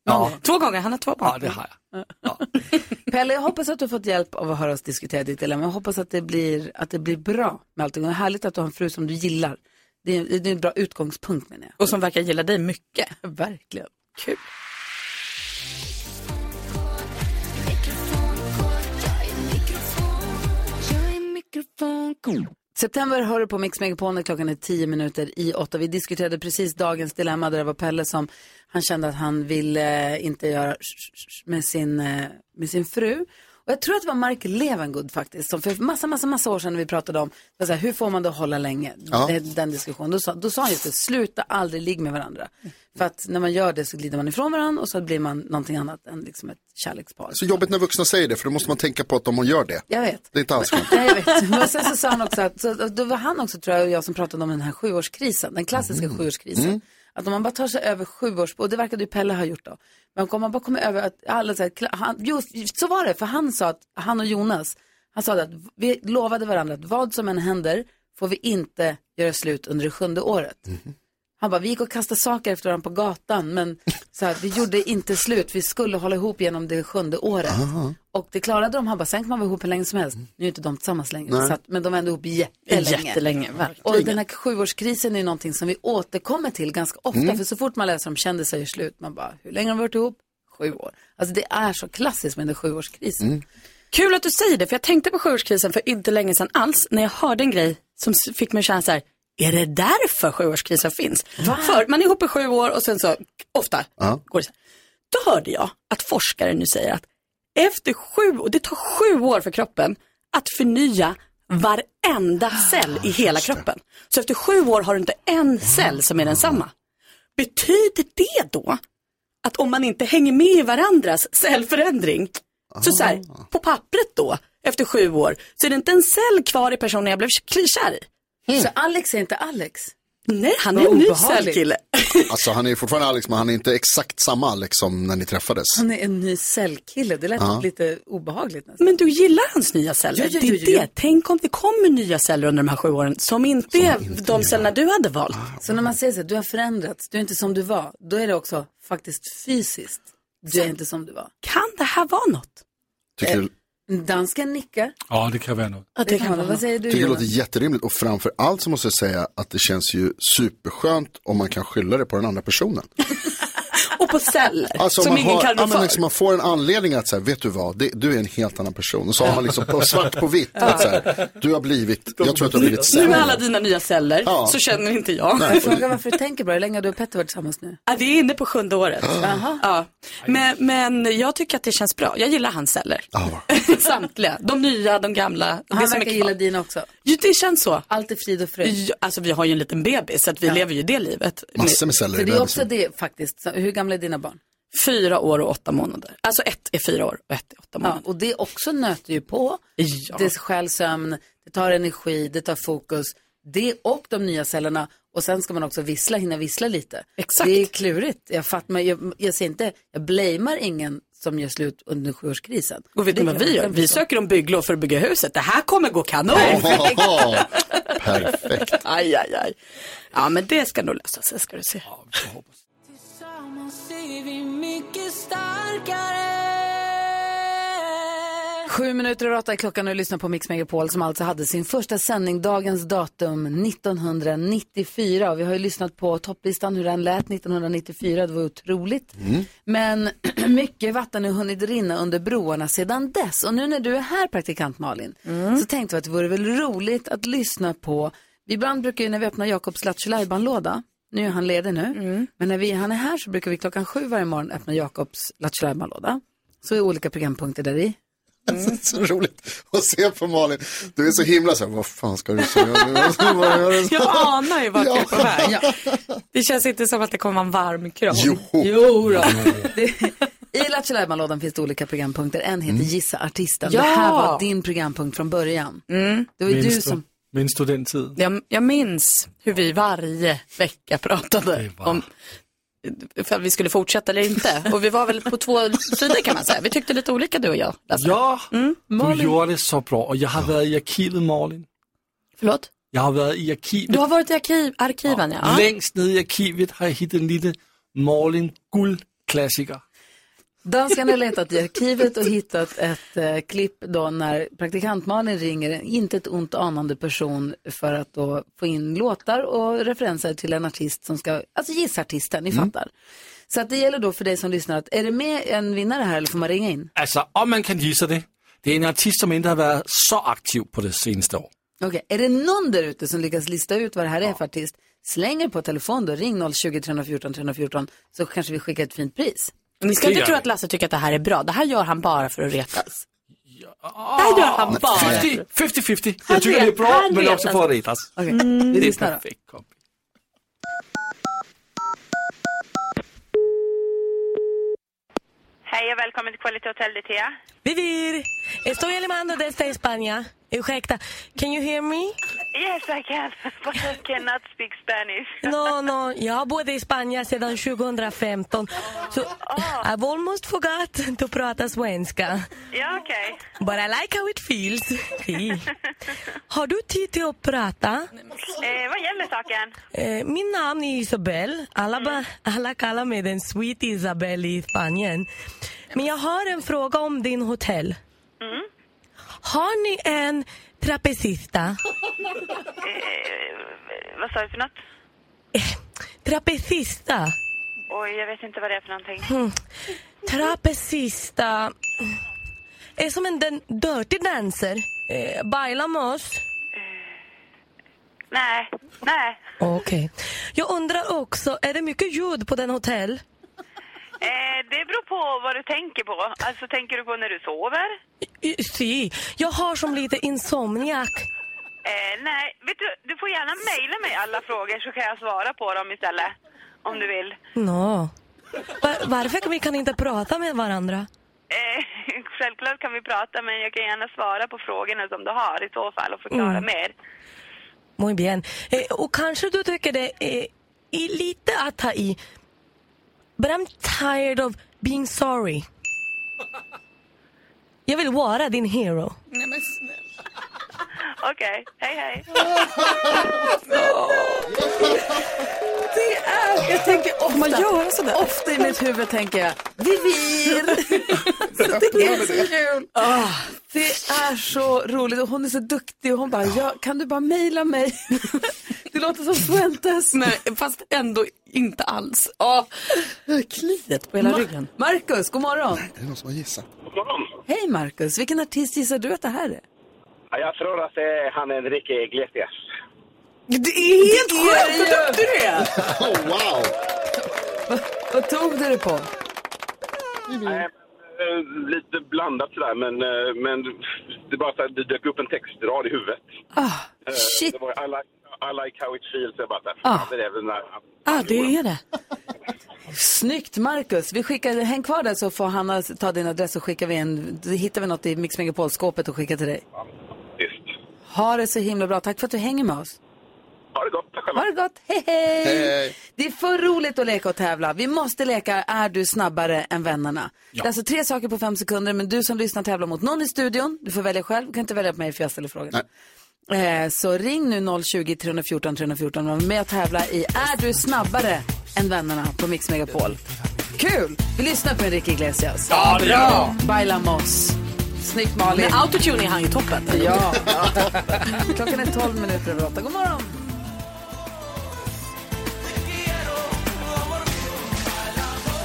Speaker 3: Ja,
Speaker 7: Två gånger, han har två barn.
Speaker 3: Ja, det har jag.
Speaker 1: Pelle, jag hoppas att du har fått hjälp av att höra oss diskutera ditt dilemma. Jag hoppas att det blir, att det blir bra med allting. Och det är härligt att du har en fru som du gillar. Det är, det är en bra utgångspunkt menar jag.
Speaker 7: Och som verkar gilla dig mycket.
Speaker 1: <laughs> Verkligen.
Speaker 7: Kul.
Speaker 1: September hör du på Mix Megapol när klockan är tio minuter i åtta. Vi diskuterade precis dagens dilemma där det var Pelle som han kände att han ville eh, inte göra med sin, eh, med sin fru. Och jag tror att det var Mark Levengood faktiskt, som för massa, massa, massa år sedan när vi pratade om, det var så här, hur får man det att hålla länge?
Speaker 6: Ja.
Speaker 1: Det- Den diskussionen. Då sa, då sa han just det, sluta aldrig ligga med varandra. För att när man gör det så glider man ifrån varandra och så blir man någonting annat än liksom ett kärlekspar.
Speaker 2: Så jobbigt när vuxna säger det, för då måste man tänka på att om man gör det.
Speaker 1: Jag vet.
Speaker 2: Det är inte alls skönt.
Speaker 1: Nej, jag vet. Men sen så sa han också att, så, då var han också tror jag och jag som pratade om den här sjuårskrisen, den klassiska sjuårskrisen. Att om man bara tar sig över sjuårs, och det verkade ju Pelle ha gjort då, men om man bara kommer över att alla så här, kla- han, jo, så var det, för han sa att, han och Jonas, han sa det att vi lovade varandra att vad som än händer får vi inte göra slut under det sjunde året. Han bara, vi gick och kastade saker efter varandra på gatan, men så här, vi gjorde inte slut. Vi skulle hålla ihop genom det sjunde året.
Speaker 8: Ah.
Speaker 1: Och det klarade de. Han bara, sen kan man vara ihop hur länge som helst. Nu är inte de tillsammans längre,
Speaker 7: Mm. Nej.
Speaker 1: så att, men de var ändå ihop jättelänge.
Speaker 7: Jättelänge, verkligen.
Speaker 1: Och den här sjuårskrisen är ju någonting som vi återkommer till ganska ofta.
Speaker 7: Mm.
Speaker 1: För så fort man läser om kändisar gör slut, man bara, hur länge har de varit ihop? Sju år. Alltså det är så klassiskt med den där sjuårskrisen.
Speaker 7: Kul att du säger det, för jag tänkte på sjuårskrisen för inte länge sedan alls, när jag hörde en grej som s- fick mig att känna så här, är det därför sjuårskrisen finns? För man är ihop i sju år och sen så, ofta, går det så här. Då hörde jag att forskare nu säger att efter sju, och det tar sju år för kroppen att förnya varenda
Speaker 1: Ah,
Speaker 7: cell i hela kroppen. Så efter sju år har du inte en cell som är densamma. Betyder det då att om man inte hänger med i varandras cellförändring, så, så här,
Speaker 1: Ah.
Speaker 7: på pappret då, efter sju år, så är det inte en cell kvar i personen jag blev k- kär i.
Speaker 1: Så Alex är inte Alex?
Speaker 7: Nej, han är
Speaker 1: Hmm. Vad
Speaker 7: en ny
Speaker 1: obehagligt.
Speaker 7: cellkille.
Speaker 2: Alltså han är ju fortfarande Alex, men han är inte exakt samma Alex som när ni träffades.
Speaker 1: Han är en ny cellkille. Det lät
Speaker 2: Ja.
Speaker 1: lite obehagligt nästan.
Speaker 7: Men du gillar hans nya celler.
Speaker 1: Jo, jo,
Speaker 7: det
Speaker 1: jo,
Speaker 7: är
Speaker 1: jo,
Speaker 7: det.
Speaker 1: jo.
Speaker 7: Tänk om det kommer nya celler under de här sju åren som inte är de cellerna du hade valt.
Speaker 1: Så när man säger så här, du har förändrats, du är inte som du var, då är det också faktiskt fysiskt, du är inte som du var.
Speaker 7: Kan det här vara något?
Speaker 2: Tycker du,
Speaker 1: Dansken nickar.
Speaker 3: Ja, det kan vara något.
Speaker 1: det kan vara. Vad säger du
Speaker 2: tycker det låter
Speaker 1: Jonas?
Speaker 2: jätterimligt och framför allt så måste jag säga att det känns ju superskönt om man kan skylla det på den andra
Speaker 7: <laughs>
Speaker 2: personen.
Speaker 7: Och på celler
Speaker 2: Alltså om
Speaker 7: som
Speaker 2: man,
Speaker 7: ingen
Speaker 2: har,
Speaker 7: kan
Speaker 2: ja,
Speaker 7: rå
Speaker 2: men
Speaker 7: för.
Speaker 2: liksom, man får en anledning att säga, vet du vad, det, du är en helt annan person. Och så har man liksom på svart på vitt, att, så här, du har blivit, jag tror att du har blivit
Speaker 7: Nu med
Speaker 2: sämre.
Speaker 7: alla dina nya celler
Speaker 2: Ja.
Speaker 7: så känner inte jag.
Speaker 2: Nej.
Speaker 7: <laughs>
Speaker 1: Jag frågar varför du tänker på det. Hur länge har du och Petter varit tillsammans nu?
Speaker 7: Ja, det är inne på sjunde året.
Speaker 1: Jaha.
Speaker 7: Ja. Men, men jag tycker att det känns bra. Jag gillar hans celler. <laughs> Samtliga. De nya, de gamla.
Speaker 1: Han
Speaker 7: det som är
Speaker 1: verkar
Speaker 7: kvar.
Speaker 1: gilla dina också.
Speaker 7: Jo, det känns så.
Speaker 1: Allt är frid och fröjd.
Speaker 7: Ja, Alltså vi har ju en liten bebis så att vi lever ju det livet.
Speaker 2: Massor med celler
Speaker 1: För
Speaker 2: i liksom.
Speaker 1: det är
Speaker 2: bebisen.
Speaker 1: också det faktiskt. Så, Hur gamla är dina barn?
Speaker 7: Fyra år och åtta månader. Alltså ett är fyra år och ett är åtta
Speaker 1: Ja,
Speaker 7: månader.
Speaker 1: och det också nöter ju på.
Speaker 7: Ja.
Speaker 1: Det stjäl sömn, det tar energi, det tar fokus. Det och de nya cellerna. Och sen ska man också vissla, hinna vissla lite. Exakt. Det är klurigt. Jag, fattar, men jag, jag ser inte, jag blamear ingen som gör slut under sjuårskrisen.
Speaker 7: Och vet ni
Speaker 1: Det
Speaker 7: vad
Speaker 1: kan
Speaker 7: vi
Speaker 1: jag
Speaker 7: gör?
Speaker 1: verkligen
Speaker 7: Vi
Speaker 1: förstå.
Speaker 7: söker om bygglov för att bygga huset. Det här kommer gå kanon. <laughs>
Speaker 2: Perfekt.
Speaker 7: Aj, aj, aj. Ja, men det ska nog lösa sig, ska du se.
Speaker 8: Tillsammans är vi mycket starkare
Speaker 1: Sju minuter över åtta är klockan och lyssnar på Mix Megapol som alltså hade sin första sändning dagens datum 1994. Och vi har ju lyssnat på topplistan hur den lät 1994, det var otroligt. Men <clears throat> mycket vatten har hunnit rinna under broarna sedan dess. Och nu när du är här praktikant Malin så tänkte vi att det vore väl roligt att lyssna på, ibland brukar ju när vi öppnar Jakobs Lattjo låda nu är han ledig nu, men när vi, han är här så brukar vi klockan sju varje morgon öppna Jakobs Lattjo låda Så är olika programpunkter där i.
Speaker 2: <laughs> så roligt att se på Malin. Du är så himla så här, vad fan ska du säga
Speaker 7: <laughs>
Speaker 2: nu?
Speaker 7: Jag anar ju vart du är på väg.
Speaker 1: Ja.
Speaker 7: Det känns inte som att det kommer en varm kram. Jo,
Speaker 1: jo då. I Lattjo Lajban-lådan finns det olika programpunkter. En heter Gissa artisten. Det här
Speaker 7: Ja.
Speaker 1: var din programpunkt från början. Det var ju du
Speaker 7: Minns
Speaker 1: som...
Speaker 12: Minns du den tiden?
Speaker 7: Jag, jag minns hur vi varje vecka pratade om ifall vi skulle fortsätta eller inte. Och vi var väl på två sidor kan man säga. Vi tyckte lite olika du och jag.
Speaker 12: Ja,
Speaker 7: Malin.
Speaker 12: du gjorde det så bra och jag har varit i arkivet Malin.
Speaker 7: Förlåt?
Speaker 12: Jag har varit i arkivet.
Speaker 7: Du har varit i arkiv, arkiven, ja.
Speaker 12: Längst ned i arkivet har jag hittat en liten Malin guldklassiker.
Speaker 1: Danskarna har letat i arkivet och hittat ett eh, klipp då när praktikant Malin ringer en inte ett ont anande person för att då få in låtar och referenser till en artist som ska, alltså gissa artisten, ni fattar. Så att det gäller då för dig som lyssnar att är det med en vinnare här eller får man ringa in?
Speaker 12: Alltså om man kan gissa det. Det är en artist som inte har varit så aktiv på det senaste året.
Speaker 1: Okej, är det någon där ute som lyckas lista ut vad det här är för artist? Slänger på telefon då, ring 020 314 314 så kanske vi skickar ett fint pris.
Speaker 7: Ni ska
Speaker 1: Det
Speaker 7: inte
Speaker 1: gör
Speaker 7: tro
Speaker 1: vi.
Speaker 7: att Lasse tycker att det här är bra. Det här gör han bara för att retas. Det här gör han bara.
Speaker 12: 50, 50-50.
Speaker 7: Han
Speaker 12: Jag tycker det är
Speaker 7: vet,
Speaker 12: bra
Speaker 7: han
Speaker 12: men också
Speaker 7: vet alltså.
Speaker 12: för att retas.
Speaker 1: Okej, vi
Speaker 12: Mm. Det är
Speaker 1: lyssnar då.
Speaker 12: perfekt. Kom.
Speaker 13: Hej och välkommen till Quality Hotel DT.
Speaker 14: Vivir! Estoy llamando desde España. Ursäkta, can you hear me?
Speaker 13: Yes I can, <laughs> but I cannot speak Spanish.
Speaker 14: <laughs> No, no, jag bodde i Spanien sedan 2015. Så
Speaker 13: Oh.
Speaker 14: I've almost forgot att prata svenska.
Speaker 13: Ja okej.
Speaker 14: But I like how it feels. Fy. Har du tid till att prata?
Speaker 13: Eh, vad gäller saken? Mm.
Speaker 14: Eh, min namn är Isabel. Alla, ba, alla kallar mig den sweet Isabel i Spanien. Men jag har en fråga om din hotell.
Speaker 13: Mm.
Speaker 14: Har ni en trapezista?
Speaker 13: Eh, vad sa du för något?
Speaker 14: Trapezista?
Speaker 13: Oj, jag vet inte vad det är för någonting.
Speaker 14: Hmm. Trapezista. Är som en den dirty dancer. Eh, bailamos.
Speaker 13: Eh, Nej, nej.
Speaker 14: Okej. Jag undrar också, är det mycket ljud på den hotell?
Speaker 13: Eh, det beror på vad du tänker på. Alltså tänker du på när du sover?
Speaker 14: Y- Si, jag har som lite insomniak.
Speaker 13: Eh, nej, vet du, du får gärna mejla mig alla frågor så kan jag svara på dem istället. Om du vill.
Speaker 14: Nå. Var, varför vi kan inte prata med varandra?
Speaker 13: Eh, <laughs> självklart kan vi prata men jag kan gärna svara på frågorna som du har i så fall och förklara
Speaker 14: Mm.
Speaker 13: mer.
Speaker 14: Muy bien. Eh, och kanske du tycker det är, är lite att ta i. But I'm tired of being sorry. Jag vill vara din hero.
Speaker 13: Nej men <laughs> Okej, hej
Speaker 1: <laughs>
Speaker 13: hej.
Speaker 1: Det är, jag tänker ofta,
Speaker 8: man göra
Speaker 1: sådär? ofta i mitt huvud tänker jag, Vivir! så det är så kul. Ah, det är så roligt och hon är så duktig och hon bara, ja, kan du bara mejla mig? <laughs> det låter som Fuentes.
Speaker 7: Nej, fast ändå inte alls. Oh. Kliet på hela ryggen.
Speaker 1: Marcus, god morgon.
Speaker 2: Är det någon som har gissat?
Speaker 1: Hej Marcus, vilken artist gissar du att det här är?
Speaker 11: Ja, Jag tror att det är han Enrique Iglesias.
Speaker 1: Det är helt
Speaker 8: sjukt, vad duktig
Speaker 1: du är!
Speaker 2: <laughs> Oh, wow!
Speaker 1: Vad tog du det på?
Speaker 11: Nej, eh, Lite blandat sådär, men, eh, men det, är bara så här, det dök upp en textrad i huvudet. Eh,
Speaker 1: Ah, Shit.
Speaker 11: Det var I like, I like how it feels. Jag bara, så här,
Speaker 1: Ah.
Speaker 11: fan, det är väl när han-
Speaker 1: Ja, ah, det är det. Snyggt, Marcus. Vi skickar, häng kvar där så får Hanna ta din adress och skickar vi en, då hittar vi något i Mix Megapol-skåpet och skickar till dig.
Speaker 11: Visst.
Speaker 1: Ha det så himla bra. Tack för att du hänger med oss.
Speaker 11: Ha det gott.
Speaker 6: Ha det gott, hej hej!
Speaker 2: Hej.
Speaker 1: Det är för roligt att leka och tävla. Vi måste leka Är du snabbare än vännerna? Det är alltså tre saker på fem sekunder, men du som lyssnar tävlar mot någon i studion. Du får välja själv, du kan inte välja på mig för jag ställer frågan. Eh, så ring nu 020-314 314 och var med och tävla i Är du snabbare än vännerna på Mix Megapol. Kul! Vi lyssnar på Enrique Iglesias.
Speaker 8: Ja, det gör vi.
Speaker 1: Bra! Bailamos. Snyggt Malin.
Speaker 7: Med autotune är han ju toppen.
Speaker 1: Ja. Klockan är 12 minuter över 8. God morgon!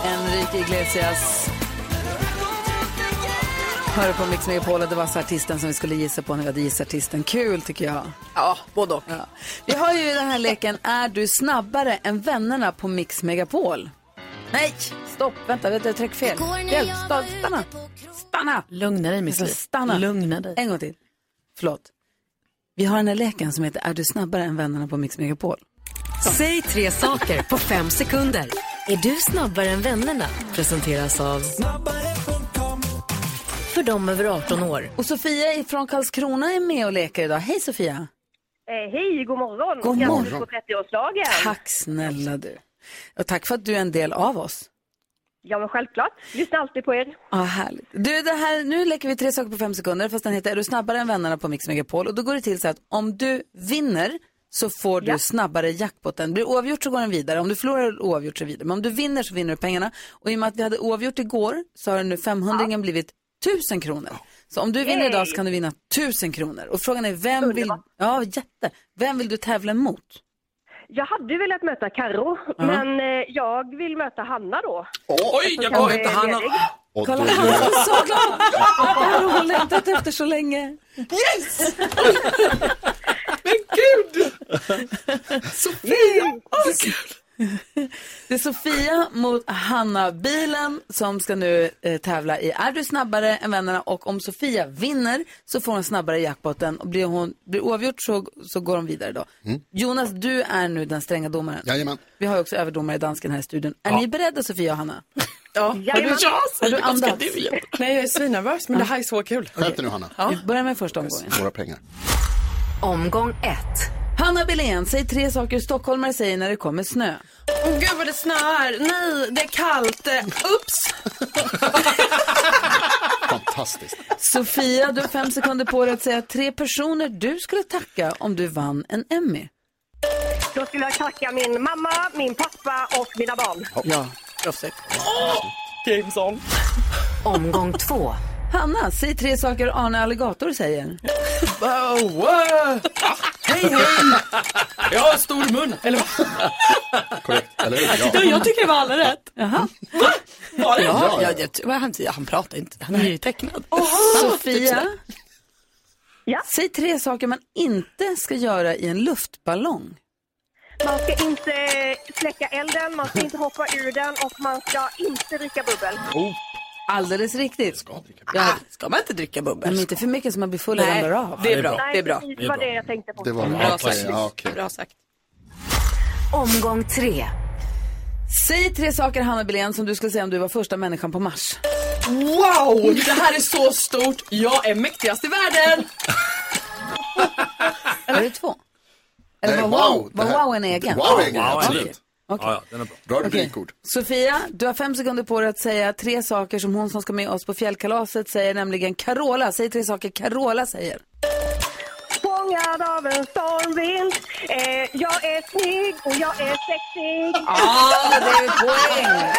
Speaker 1: Enrique Iglesias. Hör på Mix Megapol och det var så artisten som vi skulle gissa på när vi hade gissartisten. Kul tycker jag.
Speaker 7: Ja, både och.
Speaker 1: Vi har ju den här leken Är du snabbare än vännerna på Mix Megapol? Nej, stopp, vänta, vänta jag tryckte fel. Hjälp, sta- stanna. Stanna.
Speaker 7: Lugna dig
Speaker 1: Miss Li.
Speaker 7: Stanna. Lugna dig.
Speaker 1: En gång till. Förlåt. Vi har den här leken som heter Är du snabbare än vännerna på Mix Megapol?
Speaker 15: Säg tre saker på fem sekunder. Är du snabbare än vännerna? Presenteras av... För dem över 18 år.
Speaker 1: Och Sofia från Karlskrona är med och leker idag. Hej Sofia!
Speaker 16: Eh, hej, god morgon.
Speaker 1: God
Speaker 16: Grattis
Speaker 1: morgon.
Speaker 16: på 30-årsdagen.
Speaker 1: Tack snälla du. Och tack för att du är en del av oss.
Speaker 16: Ja, men självklart. Lyssnar alltid på er.
Speaker 1: Ja, härligt. Du, det här, nu leker vi tre saker på fem sekunder, fast den heter Är du snabbare än vännerna på Mix Megapol? Och då går det till så att om du vinner så får du snabbare jackpotten. Blir det oavgjort så går den vidare, om du förlorar oavgjort så vidare. Men om du vinner så vinner du pengarna. Och i och med att vi hade oavgjort igår så har nu 500 blivit 1000 kronor. Så om du vinner
Speaker 6: Yay.
Speaker 1: idag så kan du vinna 1000 kronor. Och frågan är, vem vill, ja, jätte. vem vill du tävla mot?
Speaker 16: Jag hade ju velat möta Karo, men eh, jag vill möta Hanna då.
Speaker 8: Oj, jag går efter Hanna.
Speaker 2: Och
Speaker 1: Kolla,
Speaker 2: då-
Speaker 1: han var så glad! Han har längtat efter så länge. Yes! Men gud! Sofia! Det är Sofia mot Hanna Bilen som ska nu eh, tävla i Är du snabbare än vännerna? Och om Sofia vinner så får hon snabbare jackpotten. Och blir hon blir oavgjort så, så går hon vidare då.
Speaker 2: Mm.
Speaker 1: Jonas, du är nu den stränga domaren.
Speaker 2: Jajamän.
Speaker 1: Vi har ju också överdomare i dansken här i studion. Är ni beredda Sofia och Hanna?
Speaker 4: Ja.
Speaker 1: Har du, har du andats?
Speaker 4: Nej, jag är svinnervös, men det här är så kul.
Speaker 2: Skärp dig nu Hanna.
Speaker 4: Ja.
Speaker 1: Vi börjar med första omgången.
Speaker 2: Våra pengar.
Speaker 15: Omgång ett.
Speaker 1: Hanna Billén, säg tre saker stockholmare säger när det kommer snö.
Speaker 4: Åh gud vad det snöar. Nej, det är kallt. Eh, Ups!
Speaker 2: Fantastiskt.
Speaker 1: Sofia, du har fem sekunder på dig att säga tre personer du skulle tacka om du vann en Emmy.
Speaker 16: Då skulle jag tacka min mamma, min pappa och mina barn.
Speaker 1: Ja, proffsigt.
Speaker 4: Games on.
Speaker 15: Omgång två.
Speaker 1: Hanna, säg tre saker Arne Alligator säger.
Speaker 8: Wow, wow. Hej, hej! Jag har stor mun, eller vad?
Speaker 2: Korrekt, eller hur?
Speaker 8: Ja.
Speaker 7: Jag tycker det var alla rätt.
Speaker 1: Jaha.
Speaker 7: Var det?
Speaker 8: Ja,
Speaker 7: Ja,
Speaker 8: ja.
Speaker 7: jag, jag, vad han, säger, han pratar inte. Han är ju tecknad.
Speaker 1: Sofia, säg tre saker man inte ska göra i en luftballong.
Speaker 16: Man ska inte släcka elden, man ska inte hoppa ur den och man ska inte dricka bubbel.
Speaker 7: Oh.
Speaker 1: Alldeles riktigt. Ska,
Speaker 7: ska man inte dricka bubbel?
Speaker 1: Men inte för mycket så man blir full och
Speaker 7: Nej,
Speaker 1: ramlar av.
Speaker 7: det är bra, det är bra.
Speaker 16: Nej, precis vad det jag tänkte på.
Speaker 2: Det var
Speaker 7: Bra
Speaker 2: bra. Okej,
Speaker 7: sagt.
Speaker 2: ja, okej.
Speaker 7: Bra sagt.
Speaker 15: Omgång tre.
Speaker 1: Säg tre saker Hanna Billén som du skulle säga om du var första människan på Mars.
Speaker 4: Wow, det här är så stort. Jag är mäktigast i världen.
Speaker 1: Eller är det två? Eller
Speaker 2: Nej,
Speaker 1: var wow,
Speaker 2: wow, det
Speaker 1: var
Speaker 2: här-
Speaker 1: wow en egen?
Speaker 2: Wow, egen, absolut.
Speaker 1: Okej.
Speaker 2: Ja, ja, den är bra. Bra rubrikord.
Speaker 1: Sofia, du har fem sekunder på dig att säga tre saker som hon som ska med oss på fjällkalaset säger, nämligen Carola. Säg tre saker Carola säger.
Speaker 16: Fångad av en stormvind. Eh, jag är snygg och jag är sexig.
Speaker 1: Ja, Ah, det är poäng.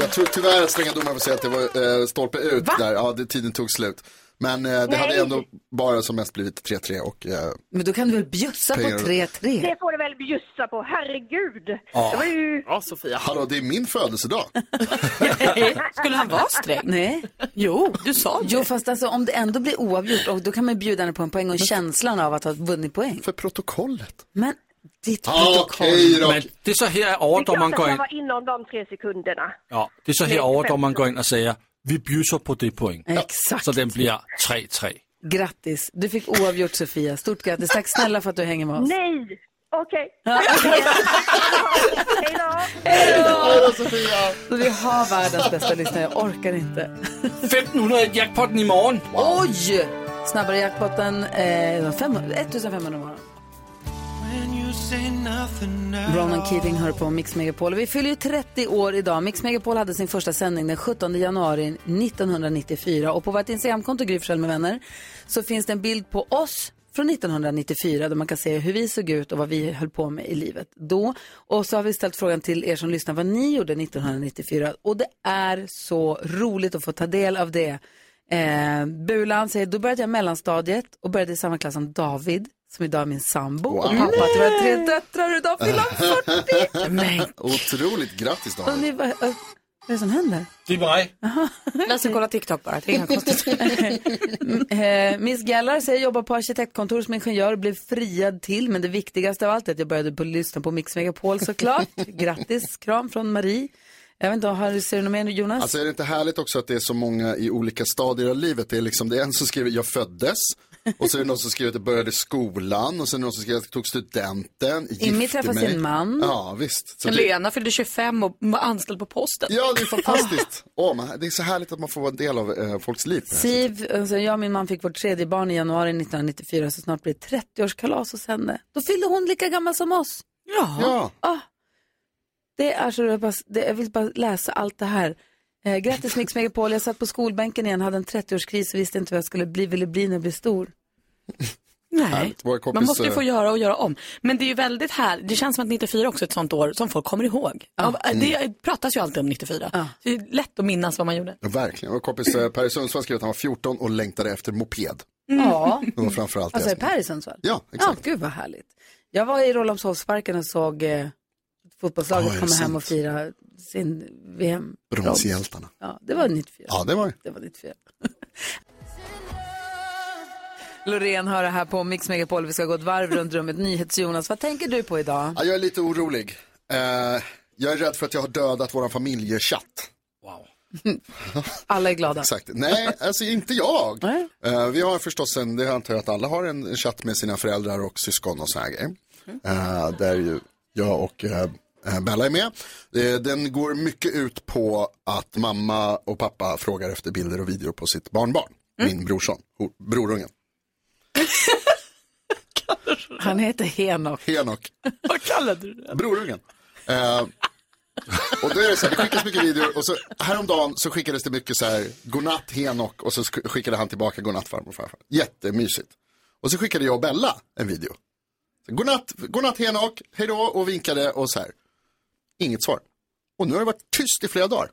Speaker 2: Jag tror tyvärr att stränga domaren får säga att det var eh, stolpe ut där. Ja, det, tiden tog slut. Men eh, det
Speaker 16: Nej.
Speaker 2: hade ändå bara som mest blivit 3-3 och... Eh,
Speaker 1: Men då kan du väl bjussa på
Speaker 2: Pengar.
Speaker 1: 3-3?
Speaker 16: Det får du väl bjussa på, herregud.
Speaker 2: Ja.
Speaker 16: Det var ju...
Speaker 4: Ja, Sofia.
Speaker 2: Hallå, det är min födelsedag.
Speaker 7: Skulle han vara sträng?
Speaker 1: Nej.
Speaker 7: Jo, du sa det.
Speaker 1: Jo, fast alltså, om det ändå blir oavgjort, och då kan man ju bjuda henne på en poäng och känslan av att ha vunnit poäng.
Speaker 2: För protokollet.
Speaker 1: Men ditt protokoll.
Speaker 2: Okej då.
Speaker 12: Men det är så här
Speaker 16: Det är
Speaker 12: overdommeren
Speaker 16: klart
Speaker 12: går
Speaker 16: att jag
Speaker 12: ind.
Speaker 16: var inom de tre sekunderna.
Speaker 12: Ja, det är så her overdommeren går ind og siger, vi bjuser på det point.
Speaker 1: Exakt.
Speaker 12: Så den bliver 3-3.
Speaker 1: Grattis, du fick oavgjort Sofia. Stort grattis. Tack snälla för att du hänger med oss.
Speaker 16: Nej! Okej. <laughs>
Speaker 1: Hej
Speaker 2: då, Sofia!
Speaker 1: Vi har världens bästa lyssnare, jag orkar inte.
Speaker 12: 1500 i jackpotten i morgen.
Speaker 1: Oj! Snabbare jackpotten, eh, 500, 1500 imorgon. Ronan Keating hör på Mix Megapol. Vi fyller ju 30 år idag. Mix Megapol hade sin första sändning den 17 januari 1994. Och på vårt Instagramkonto, Gry Forssell med vänner, så finns det en bild på oss från 1994 där man kan se hur vi såg ut och vad vi höll på med i livet då. Och så har vi ställt frågan till er som lyssnar vad ni gjorde 1994. Och det är så roligt att få ta del av det. Eh, Bulan säger, då började jag mellanstadiet och började i samma klass som David, som idag är min sambo. Och pappa till våra tre döttrar och idag fyller han
Speaker 2: <laughs>
Speaker 1: 40. Men
Speaker 2: Otroligt grattis
Speaker 1: Och
Speaker 2: Daniel.
Speaker 1: ni, vad, vad är det som händer?
Speaker 8: Det är mig.
Speaker 7: Lasse, kolla TikTok bara. Det är inga
Speaker 1: Eh, Miss Gellar säger jobbar på arkitektkontor som ingenjör och blev friad till. Men det viktigaste av allt är att jag började på, lyssna på Mix Megapol såklart. Grattis, kram från Marie. Jag vet inte, har, ser du något mer Jonas?
Speaker 2: Alltså är det inte härligt också att det är så många i olika stadier av livet? Det är, liksom, det är en som skriver jag föddes. Och så är det någon som skriver att jag började skolan. Och sen är det någon som skriver att jag tog studenten. gifte
Speaker 7: Immi träffade
Speaker 2: mig.
Speaker 7: sin man.
Speaker 2: Ja, visst. Så det,
Speaker 7: Lena fyllde 25 och var anställd på posten.
Speaker 2: ja, det är fantastiskt. Åh, man, det är så härligt att man får vara en del av eh, folks liv.
Speaker 1: Siv, alltså jag och min man fick vårt tredje barn i januari 1994 så snart blir det 30-årskalas hos henne. Då fyllde hon lika gammal som oss. Ja. Ah. Det är så, jag, bara, det, jag vill bara läsa allt det här. Eh, grattis Mix Megapol, jag satt på skolbänken igen, hade en 30-årskris och visste inte vad jag skulle bli, ville bli när jag blev stor.
Speaker 7: Nej,
Speaker 2: Våra kompis,
Speaker 7: man måste ju
Speaker 2: eh,
Speaker 7: få göra och göra om. Men det är ju väldigt här. det känns som att 94 också är ett sånt år som folk kommer ihåg. Av-
Speaker 2: Mm.
Speaker 7: Det pratas ju alltid om 94. Det är lätt att minnas vad man gjorde.
Speaker 2: Ja, verkligen. Vår kompis eh, Per i Sundsvall skrev att han var 14 och längtade efter moped.
Speaker 1: Mm. Ja.
Speaker 2: Det var framförallt
Speaker 1: Alltså är
Speaker 2: det.
Speaker 1: Per i Sundsvall?
Speaker 2: Ja,
Speaker 1: exakt. Ja, gud vad härligt. Jag var i Rålambshovsparken och såg eh, fotbollslaget
Speaker 2: Ja, är det
Speaker 1: komma hem
Speaker 2: sant?
Speaker 1: och fira sin VM.
Speaker 2: Bronshjältarna.
Speaker 1: Ja, det var 94.
Speaker 2: Ja, det var
Speaker 1: det. var 94. Loreen hör det här på Mix Megapol. Vi ska gå ett varv runt rummet. NyhetsJonas, vad tänker du på idag?
Speaker 2: Ja, jag är lite orolig. Eh, jag är rädd för att jag har dödat vår familjechatt.
Speaker 1: Alla är glada.
Speaker 2: Exakt. Nej, alltså inte jag. Eh, vi har förstås en, det antar jag att alla har en chatt med sina föräldrar och syskon och sådana grejer. Eh, där ju jag och eh, eh, Bella är med. Eh, den går mycket ut på att mamma och pappa frågar efter bilder och videor på sitt barnbarn. Min brorson, ho- brorungen.
Speaker 1: Han heter Henok.
Speaker 2: Henok.
Speaker 1: <laughs> Vad kallade du det?
Speaker 2: Brorungen. Eh, och då är det så här, det skickas mycket videor och så häromdagen så skickades det mycket så här, godnatt Henok och så sk- skickade han tillbaka godnatt farmor och farfar. Jättemysigt. Och så skickade jag och Bella en video. Så, godnatt, godnatt Henok, hejdå och vinkade och så här. Inget svar. Och nu har det varit tyst i flera dagar.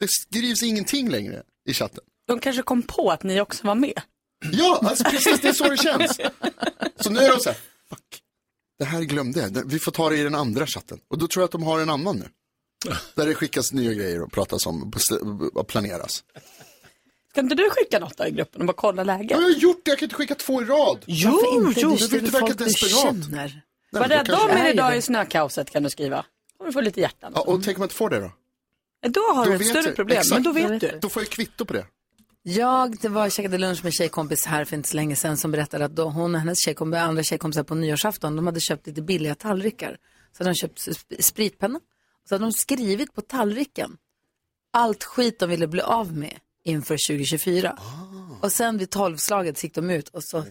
Speaker 2: Det skrivs ingenting längre i chatten.
Speaker 7: De kanske kom på att ni också var med.
Speaker 2: Ja, alltså precis det är så det känns. Så nu är de så här, fuck, det här glömde jag, vi får ta det i den andra chatten. Och då tror jag att de har en annan
Speaker 17: <laughs>
Speaker 2: nu. Där det skickas nya grejer och pratas om och planeras.
Speaker 7: Ska inte du skicka något då i gruppen och bara kolla läget?
Speaker 2: Jag har gjort det, jag kan inte skicka två i rad.
Speaker 7: Jo, jo,
Speaker 2: Du vill inte verka desperat. men då
Speaker 7: Var rädda
Speaker 2: kanske-
Speaker 7: om er
Speaker 2: Nej,
Speaker 7: idag
Speaker 2: det-
Speaker 7: i snökaoset kan du skriva. Då kommer du få lite hjärtan.
Speaker 2: Ja, och tänk om jag inte får det då?
Speaker 7: Då har
Speaker 2: Då
Speaker 7: du ett
Speaker 2: vet
Speaker 7: större
Speaker 2: jag.
Speaker 7: problem,
Speaker 2: Exakt.
Speaker 7: men då vet du.
Speaker 2: Då får jag kvitto på det.
Speaker 1: Jag det var, käkade lunch med en tjejkompis här för inte så länge sedan som berättade att då hon och hennes tjejkompis, andra tjejkompisar på nyårsafton, de hade köpt lite billiga tallrikar. Så hade de köpt sp- spritpenna. Så hade de skrivit på tallriken allt skit de ville bli av med inför 2024. Och sen vid tolvslaget gick de ut och så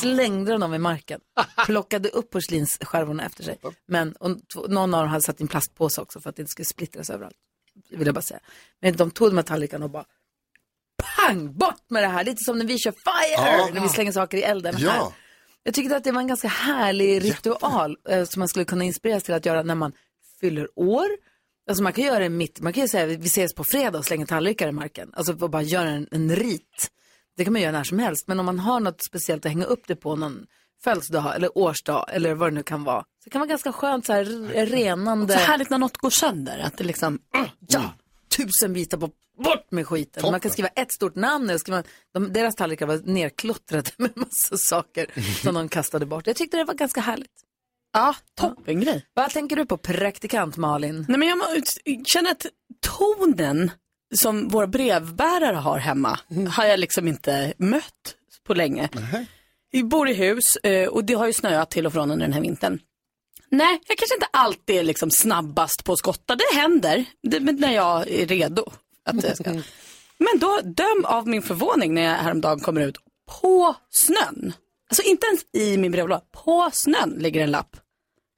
Speaker 1: slängde de dem i marken. Plockade upp porslinsskärvorna efter sig. Men och, två- någon av dem hade satt i en plastpåse också för att det inte skulle splittras överallt. Det vill jag bara säga. Men de tog de här tallrikarna och bara pang, bort med det här. Lite som när vi kör fire,
Speaker 6: Ja.
Speaker 1: när vi slänger saker i elden.
Speaker 6: Ja.
Speaker 1: Här. Jag tyckte att det var en ganska härlig ritual eh, som man skulle kunna inspireras till att göra när man fyller år. Alltså man kan göra det mitt, man kan ju säga vi ses på fredag och slänga tallrikar i marken. Alltså och bara göra en, en rit. Det kan man göra när som helst, men om man har något speciellt att hänga upp det på, någon födelsedag eller årsdag eller vad det nu kan vara. <laughs> Så det kan vara ganska skönt så här r- renande.
Speaker 7: Så härligt när något går sönder, att det liksom...
Speaker 1: äh, Ja, tusen bitar på bort med skiten. Man kan skriva ett stort namn. Eller skriva, de, deras tallrikar var nerklottrade <laughs> med massa saker som de kastade bort. Jag tyckte det var ganska härligt.
Speaker 7: Ja, toppen grej.
Speaker 1: Vad tänker du på praktikant Malin?
Speaker 7: Nej, men jag må- känner att tonen som vår brevbärare har hemma
Speaker 1: Mm.
Speaker 7: har jag liksom inte mött på länge. Vi bor i hus eh, och det har ju snöat till och från under den här vintern. Nej, jag kanske inte alltid är liksom snabbast på att skotta. Det händer det, men när jag
Speaker 1: <laughs>
Speaker 7: är redo. Att jag ska. Men då, döm av min förvåning när jag häromdagen kommer ut På snön. Alltså inte ens i min brevlåda. På snön ligger en lapp.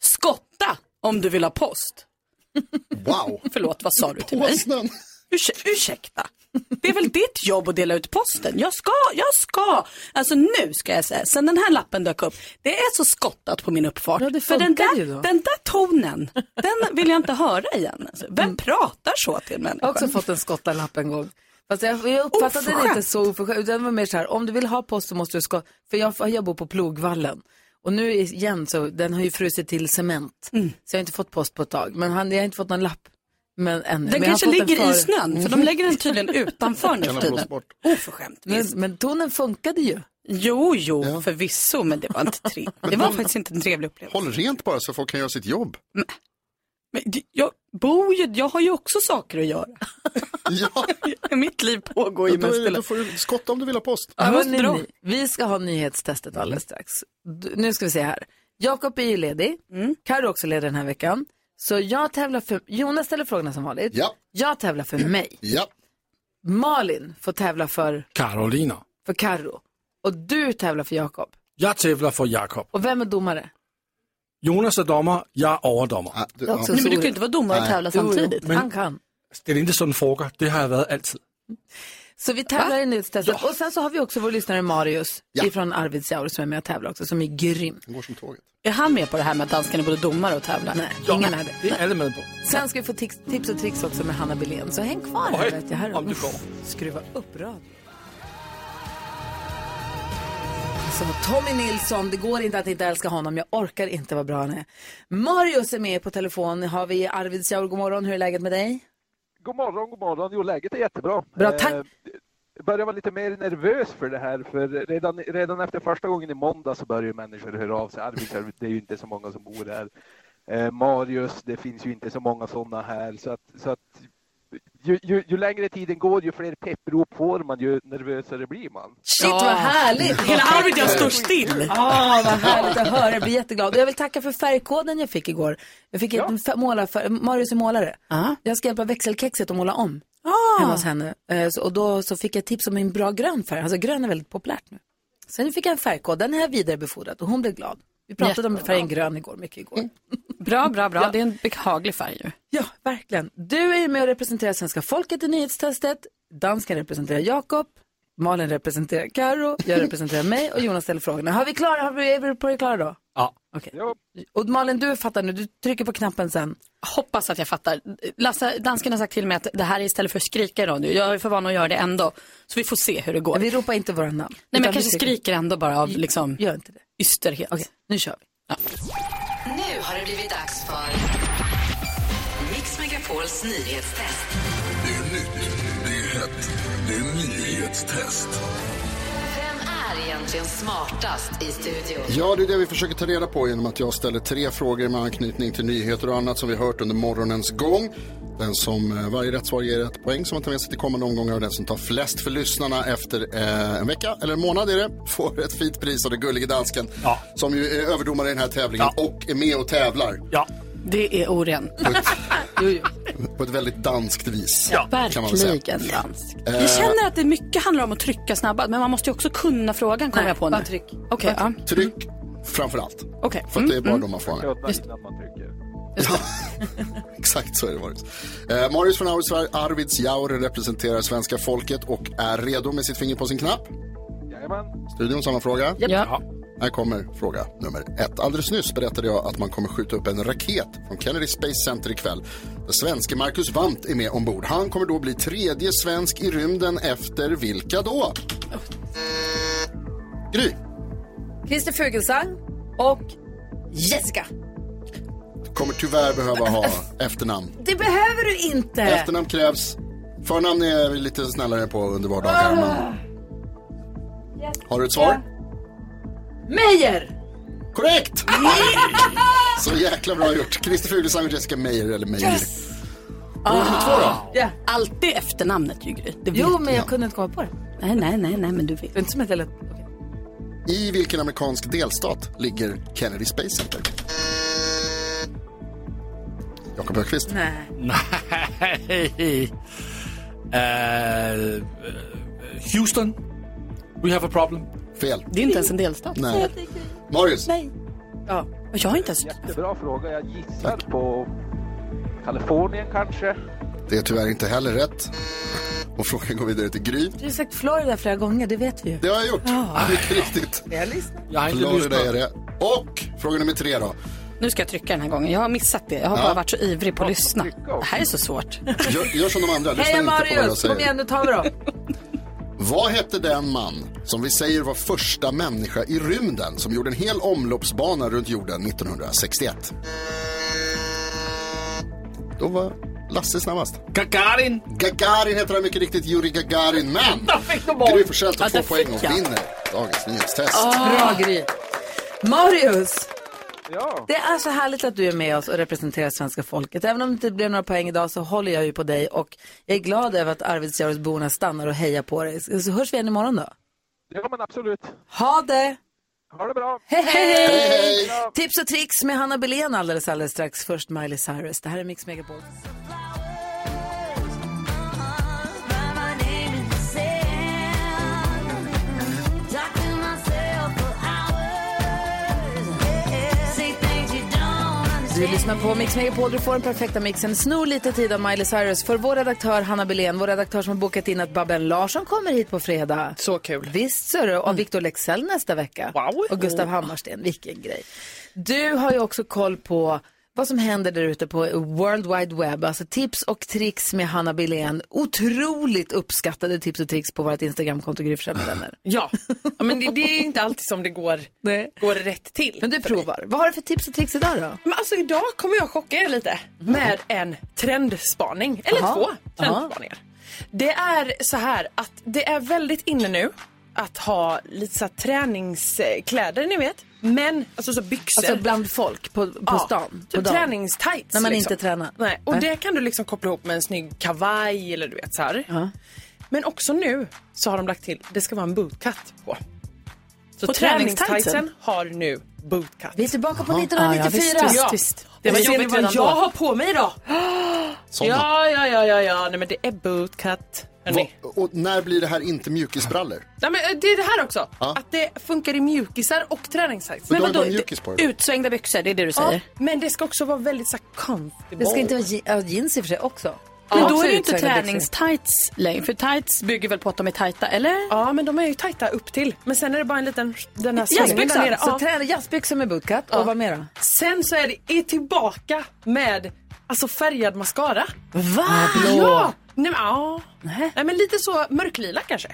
Speaker 7: Skotta om du vill ha post.
Speaker 2: Wow.
Speaker 7: Förlåt, vad sa du till mig?
Speaker 2: Snön.
Speaker 7: ursäkta. Det är väl ditt jobb att dela ut posten? Jag ska, jag ska. Alltså nu ska jag säga, sen den här lappen dök upp, det är så skottat på min uppfart.
Speaker 1: det
Speaker 7: För den
Speaker 1: funkar
Speaker 7: där,
Speaker 1: ju då.
Speaker 7: den där tonen, den vill jag inte höra igen. Alltså, vem pratar så till
Speaker 1: Mm. Jag
Speaker 7: människor?
Speaker 1: har också fått en skottarlapp en gång. Fast jag, jag uppfattade det inte så oförskämt. utan Det var mer så här, om du vill ha post så måste du ska... För jag, jag bor på Plogvallen. Och nu igen så, den har ju frusit till cement.
Speaker 7: Mm.
Speaker 1: Så jag har inte fått post på ett tag. Men han, jag har inte fått någon lapp. Men ännu.
Speaker 7: Den
Speaker 1: men jag har
Speaker 7: kanske
Speaker 1: fått en
Speaker 7: ligger i
Speaker 1: för- Mm.
Speaker 7: snön, för de lägger den tydligen
Speaker 1: <laughs>
Speaker 7: utanför nu för
Speaker 1: Kan ha
Speaker 7: tiden.
Speaker 1: blåst bort.
Speaker 7: Oförskämt.
Speaker 1: Men, men tonen funkade ju.
Speaker 7: Jo, jo, förvisso, men det var inte
Speaker 2: <laughs>
Speaker 7: trevligt. Det var faktiskt inte en trevlig upplevelse.
Speaker 2: Håll rent bara så folk kan göra sitt jobb.
Speaker 7: Men d- jag bor ju, jag har ju också saker att göra.
Speaker 2: <laughs>
Speaker 7: ja. <laughs> Mitt liv pågår ju
Speaker 2: Då är-
Speaker 7: mest. eller-
Speaker 2: då får du skotta om du vill ha post.
Speaker 1: Ja, hörni, ni, vi ska ha nyhetstestet alldeles strax. D- Nu ska vi se här. Jakob är ju ledig. Karo är också ledig den här veckan. Så jag tävlar för, Jonas ställer frågorna som vanligt. Jag tävlar för mig.
Speaker 2: Ja.
Speaker 1: Malin får tävla för,
Speaker 3: Karolina.
Speaker 1: för Karo. Och du tävlar för Jakob.
Speaker 3: Jeg tævler for Jakob.
Speaker 1: Och vem är domare?
Speaker 3: Jonas er dommer, jeg er overdommer. Ja,
Speaker 1: Ah, Det är också så orimligt. Jo, jo, Han
Speaker 3: Men
Speaker 1: kan.
Speaker 3: det er ikke sådan foregår. Det har jeg været altid.
Speaker 1: Så vi tävlar i nyhetstestet. Och sen så har vi också vår lyssnare Marius ifrån Arvidsjaur som är med och tävlar också, som är grym.
Speaker 2: går som tåget.
Speaker 7: Är han med på det här med att danskarna är både domare och tävlar?
Speaker 1: Nej, ingen är det.
Speaker 3: Det er alle med på.
Speaker 1: Sen ska vi få tips, tips och tricks också med Hanna Billén, så häng kvar här
Speaker 3: Oj,
Speaker 1: vet jag. Här
Speaker 3: om du går.
Speaker 1: Skruva upp radion. Alltså, Tommy Nilsson, det går inte att inte älska honom. Jag orkar inte vad bra han är. Marius är med på telefon. Har vi Arvidsjaur. God morgon, hur är läget med dig?
Speaker 18: God morgon, god morgon. Jo, läget är jättebra.
Speaker 1: Bra, tack.
Speaker 18: Eh, börjar vara lite mer nervös för det här, för redan, redan efter första gången i måndag så börjar ju människor höra av sig. Arvidsjaur, det är ju inte så många som bor här. Eh, Marius, det finns ju inte så många sådana här. Så att, så att ju, ju, ju längre tiden går, ju fler pepprop får man, ju nervösare blir man.
Speaker 1: Shit vad härligt!
Speaker 18: Hela Arvidsjaur står
Speaker 1: still. Ja, Ah, vad härligt att höra. Jag blir jätteglad. Och jag vill tacka för färgkoden jag fick igår. Jag fick en fär- målarfärg. Marius är målare. Jag ska hjälpa växelkexet att måla om
Speaker 7: Ah.
Speaker 1: hemma hos henne. Eh, så- Och då så fick jag tips om en bra grön färg. Alltså grön är väldigt populärt nu. Sen fick jag en färgkod. Den har jag vidarebefordrat och hon blev glad. Vi pratade om
Speaker 7: Jättebra.
Speaker 1: färgen grön igår, mycket igår.
Speaker 7: Bra, bra, bra. Det är en behaglig färg ju.
Speaker 1: Ja, verkligen. Du är ju med och representerar svenska folket i nyhetstestet. Dansken representerar Jakob. Malin representerar Karo,
Speaker 7: <laughs>
Speaker 1: jag representerar mig och Jonas ställer frågorna. Har vi klara, har vi, är vi på det klara då?
Speaker 3: Ja.
Speaker 1: Okej. Och Malin, du fattar nu, du trycker på knappen sen.
Speaker 7: Hoppas att jag fattar. Lasse, dansken har sagt till mig att det här är istället för att skrika i radio. Jag är för van att göra det ändå. Så vi får se hur det går.
Speaker 1: Vi ropar inte våra namn.
Speaker 7: Nej, men
Speaker 1: Utan
Speaker 7: jag kanske
Speaker 1: vi skriker.
Speaker 7: skriker ändå bara av liksom
Speaker 1: Gör inte det.
Speaker 7: ysterhet. Okej,
Speaker 1: nu kör vi.
Speaker 8: Nu har det blivit dags för Mix Megapols nyhetstest.
Speaker 17: Det är nytt, det är hett, det är nyhetstest.
Speaker 8: Vem är egentligen smartast i studion?
Speaker 2: Ja, det är det vi försöker ta reda på genom att jag ställer tre frågor med anknytning till nyheter och annat som vi hört under morgonens gång. Den som eh, varje rätt svar ger ett poäng som man tar med sig till kommande omgångar och den som tar flest för lyssnarna efter eh, en vecka eller en månad är det, <laughs> får ett fint pris av den gullige dansken som ju är överdomare i den här tävlingen och är med och tävlar.
Speaker 7: Det är orent.
Speaker 2: Eh. <laughs> På ett väldigt danskt vis. kan man väl säga.
Speaker 7: Verkligen dansk.
Speaker 2: Eh.
Speaker 7: Jag känner att det mycket handlar om att trycka snabbare, men man måste ju också kunna frågan, kommer jag på nu.
Speaker 1: bara tryck.
Speaker 7: Okej, ja.
Speaker 2: Tryck framför allt.
Speaker 7: Okej.
Speaker 2: För att det är bara
Speaker 7: Mm,
Speaker 2: de man får med.
Speaker 18: Födda innan man trycker.
Speaker 2: Exakt så är det Marius. Eh, Marius från Arvidsjaur- Arvidsjaur representerar svenska folket och är redo med sitt finger på sin knapp.
Speaker 18: Jajamän.
Speaker 2: Studion, samma fråga.
Speaker 7: Ja.
Speaker 2: Här kommer fråga nummer ett. Alldeles nyss berättade jag att man kommer skjuta upp en raket från Kennedy Space Center ikväll. Där svenske Marcus Wandt är med ombord. Han kommer då bli tredje svensk i rymden efter vilka då? Gry.
Speaker 1: Christer Fuglesang och Jessica.
Speaker 2: Kommer tyvärr behöva ha efternamn.
Speaker 1: Det behöver du inte.
Speaker 2: Efternamn krävs. Förnamn är vi lite snällare på under vardagar.
Speaker 1: Ah.
Speaker 2: Men... Har du ett svar?
Speaker 1: Meijer!
Speaker 2: Korrekt! Så jäkla bra gjort. Christer Fuglesang och Jessica Meyer eller Meyer.
Speaker 7: Yes. Ah.
Speaker 2: Fråga nummer två då.
Speaker 7: Alltid efternamnet ju, Gry. Det vet
Speaker 1: Jo, men
Speaker 7: du.
Speaker 1: jag kunde inte komma på det.
Speaker 7: Nej, nej, nej, nej, men du vet. Det
Speaker 1: är inte som ett eller...
Speaker 2: I vilken amerikansk delstat ligger Kennedy Space Center? Jakob Högqvist.
Speaker 1: Nej.
Speaker 3: Nej. Eh, Uh, Houston. We have a problem.
Speaker 2: Fel.
Speaker 7: Det är inte ens en delstat.
Speaker 2: Nej. Marius.
Speaker 7: Nej. Ja. Och jag har inte ens...
Speaker 18: Jättebra fråga. Jag gissar på Kalifornien kanske.
Speaker 2: Det är tyvärr inte heller rätt. Och frågan går vidare till Gry.
Speaker 1: Du har sagt Florida flera gånger, det vet vi ju. Ah.
Speaker 2: Det har jag gjort.
Speaker 1: Ja.
Speaker 2: Mycket riktigt.
Speaker 1: Jag lyssnar.
Speaker 2: Jag
Speaker 7: har inte
Speaker 2: Florida
Speaker 7: lyssnat.
Speaker 2: är det. Och fråga nummer tre då.
Speaker 7: Nu ska jag trycka den här gången. Jag har missat det. Jag har
Speaker 2: Ja.
Speaker 7: bara varit så ivrig på att lyssna. Det här är så svårt.
Speaker 2: Gör, gör som de andra, lyssna
Speaker 6: Hej
Speaker 2: inte på vad jag
Speaker 6: Marius,
Speaker 2: säger.
Speaker 6: kom igen nu tar vi då.
Speaker 2: Vad hette den man som vi säger var första människa i rymden som gjorde en hel omloppsbana runt jorden 1961? Då var Lasse snabbast.
Speaker 8: Gagarin!
Speaker 2: Gagarin heter han mycket riktigt, Yuri Gagarin. Men Gry Forssell tar
Speaker 6: Ja,
Speaker 2: två
Speaker 6: där
Speaker 2: poäng
Speaker 6: fick
Speaker 2: och
Speaker 6: jag. Ah.
Speaker 2: vinner dagens nyhetstest.
Speaker 6: Bra Gry.
Speaker 1: Marius!
Speaker 18: Ja.
Speaker 1: Det är så härligt att du är med oss och representerar svenska folket. Även om det inte blev några poäng idag så håller jag ju på dig och jag är glad över att Arvidsjaurborna stannar och hejar på dig. Så hörs vi igen imorgon då.
Speaker 18: Ja, men absolut.
Speaker 1: Ha det!
Speaker 18: Ha det bra.
Speaker 1: Hej, hej!
Speaker 18: Hej!
Speaker 1: Tips och tricks med Hanna Belén alldeles, alldeles strax. Först Miley Cyrus. Det här är Mix Megapol. Du lyssnar på Mix Megapol, du får den perfekta mixen. Snor lite tid av Miley Cyrus för vår redaktör Hanna Belén, vår redaktör som har bokat in att Babben Larsson kommer hit på fredag.
Speaker 4: Så kul. Mm.
Speaker 1: Visst ser du, och Victor Lexell nästa vecka. Wow. Och Gustav Hammarsten, vilken grej. Du har ju också koll på vad som händer där ute på World Wide Web, alltså tips och tricks med Hanna Belén. Otroligt uppskattade tips och tricks på vårt Instagramkonto Gry Forssell med vänner.
Speaker 4: Ja, Ja, men det, det är inte alltid som det går, går rätt till.
Speaker 1: Men du provar. Vad har du för tips och tricks idag då?
Speaker 4: Men alltså idag kommer jag chocka er lite med en trendspaning, eller
Speaker 1: Jaha.
Speaker 4: två trendspaningar. Det är så här att det är väldigt inne nu att ha lite så här träningskläder, ni vet. Men, alltså så byxor.
Speaker 1: Alltså bland folk på, på
Speaker 4: Ja,
Speaker 1: stan?
Speaker 4: Typ
Speaker 1: på dagen.
Speaker 4: träningstights.
Speaker 1: När man
Speaker 4: liksom.
Speaker 1: inte tränar?
Speaker 4: Nej, och
Speaker 1: Nej.
Speaker 4: det kan du liksom koppla ihop med en snygg kavaj eller du vet så här. Men också nu så har de lagt till, det ska vara en bootcut på. Så
Speaker 1: På
Speaker 4: träningstightsen
Speaker 1: träningstightsen?
Speaker 4: har nu bootcut.
Speaker 1: Vi är tillbaka på
Speaker 4: Jaha.
Speaker 1: 1994.
Speaker 4: Ja, ja, visst, visst, visst. Det var jobbigt redan då. på mig då?
Speaker 2: Sådana.
Speaker 4: Ja, ja, ja, ja, ja. Nej, men det är bootcut. Hörrni.
Speaker 2: Va- Och när blir det här inte mjukisbrallor?
Speaker 4: Nej, men eh, det är det här också.
Speaker 2: Ja.
Speaker 4: Att det funkar i mjukisar och träningstights.
Speaker 2: Men Men då är vadå, det mjukis på det.
Speaker 4: Utsvängda byxor, det är det du
Speaker 1: säger?
Speaker 4: men det ska också vara väldigt så här comfortable.
Speaker 1: Det ska inte vara je- ja, jeans i och för sig också.
Speaker 7: Men
Speaker 1: Ja,
Speaker 7: då är det ju
Speaker 1: också
Speaker 7: inte
Speaker 1: utsvängda
Speaker 7: träningstights längre. För tights bygger väl på att de är tajta, eller?
Speaker 4: Ja, men de är ju tajta upp till. Men sen är det bara en liten... Den här svängen där
Speaker 1: Jazzbyxor.
Speaker 4: nere.
Speaker 1: Så
Speaker 4: Ja.
Speaker 1: träna jazzbyxor med bootcut.
Speaker 4: Ja.
Speaker 1: Och vad mer då?
Speaker 4: Sen så är det är tillbaka med alltså färgad mascara.
Speaker 1: Va?
Speaker 4: Ja! Nej, men, ja. Nej. men lite så mörklila kanske.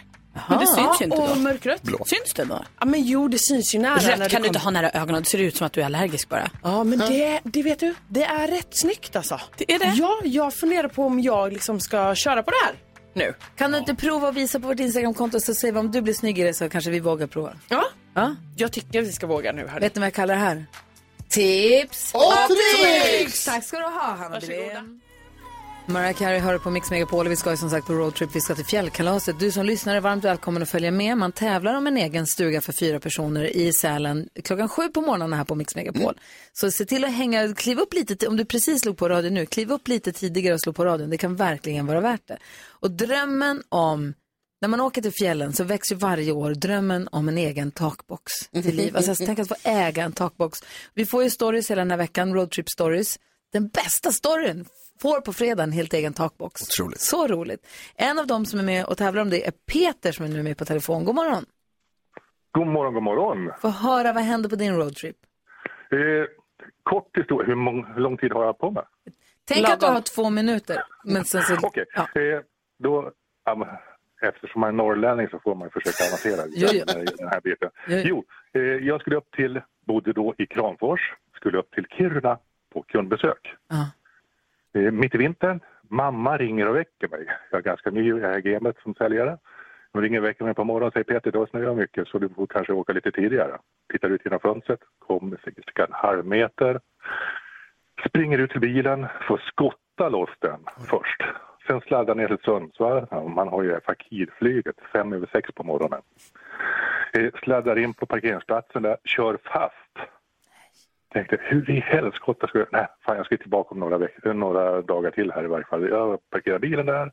Speaker 7: Men det syns ju inte
Speaker 4: Och
Speaker 7: då.
Speaker 4: mörkrött.
Speaker 7: Syns det då?
Speaker 4: Ja, men jo, det syns ju nära.
Speaker 7: Rött
Speaker 4: när
Speaker 7: kan du
Speaker 4: kommer.
Speaker 7: inte ha nära ögonen. Det ser ut som att du är allergisk bara.
Speaker 4: Ja, men det, det vet du, det är rätt snyggt alltså. Det är det? Ja, jag funderar på om jag liksom ska köra på det här nu.
Speaker 1: Kan du inte prova och visa på vårt Instagramkonto så ser vi om du blir snygg i det så kanske vi vågar prova.
Speaker 4: Ja.
Speaker 1: ja.
Speaker 4: Jag tycker vi ska våga nu. Hörni.
Speaker 1: Vet ni vad jag kallar det här? Tips
Speaker 4: Och tricks!
Speaker 1: Tack ska du ha Hanna
Speaker 4: Varsågoda.
Speaker 1: Belén. Mariah Carey hör på Mix Megapol och vi ska ju som sagt på roadtrip, vi ska till fjällkalaset. Du som lyssnar är varmt välkommen att följa med. Man tävlar om en egen stuga för fyra personer i Sälen klockan sju på morgonen här på Mix Megapol.
Speaker 4: Mm.
Speaker 1: Så se till att hänga, kliv upp lite, ti- om du precis slog på radion nu, kliv upp lite tidigare och slå på radion. Det kan verkligen vara värt det. Och drömmen om, när man åker till fjällen så väcks ju varje år drömmen om en egen takbox till liv.
Speaker 19: <laughs>
Speaker 1: Alltså, tänk att få äga en takbox. Vi får ju stories hela den här veckan, roadtrip stories. Den bästa storyn får på fredag en helt egen takbox.
Speaker 2: Otroligt.
Speaker 1: Så roligt. En av dem som är med och tävlar om det är Peter som är nu med på telefon. God morgon.
Speaker 19: God morgon, god morgon.
Speaker 1: Få höra vad händer på din roadtrip.
Speaker 19: Eh, kort historia, hur, mång, hur lång tid har jag på mig?
Speaker 1: Tänk att du har två minuter. Men sen så...
Speaker 19: Okej, eh, då... ja, men Eftersom man är norrlänning så får man ju försöka avancera
Speaker 1: Jo, jo.
Speaker 19: i den här biten.
Speaker 1: Jo,
Speaker 19: Jo, eh, jag skulle upp till, bodde då i Kramfors, skulle upp till Kiruna på kundbesök. Eh, mitt i vintern, mamma ringer och väcker mig. Jag är ganska ny i det här gamet som säljare. Hon ringer och väcker mig på morgonen och säger Peter, idag snöar mycket så du får kanske åka lite tidigare. Tittar ut genom fönstret, kommer cirka en halv meter. Springer ut till bilen, får skotta loss den först. Sen sladdar ner till Sundsvall. Ja, Man har ju det här fakirflyget fem över sex på morgonen. Eh, Sladdar in på parkeringsplatsen där, kör fast. Tänkte, hur i helskotta ska jag... Nej, fan jag ska tillbaka om några, veck- några dagar till här i varje fall. Jag parkerar bilen där,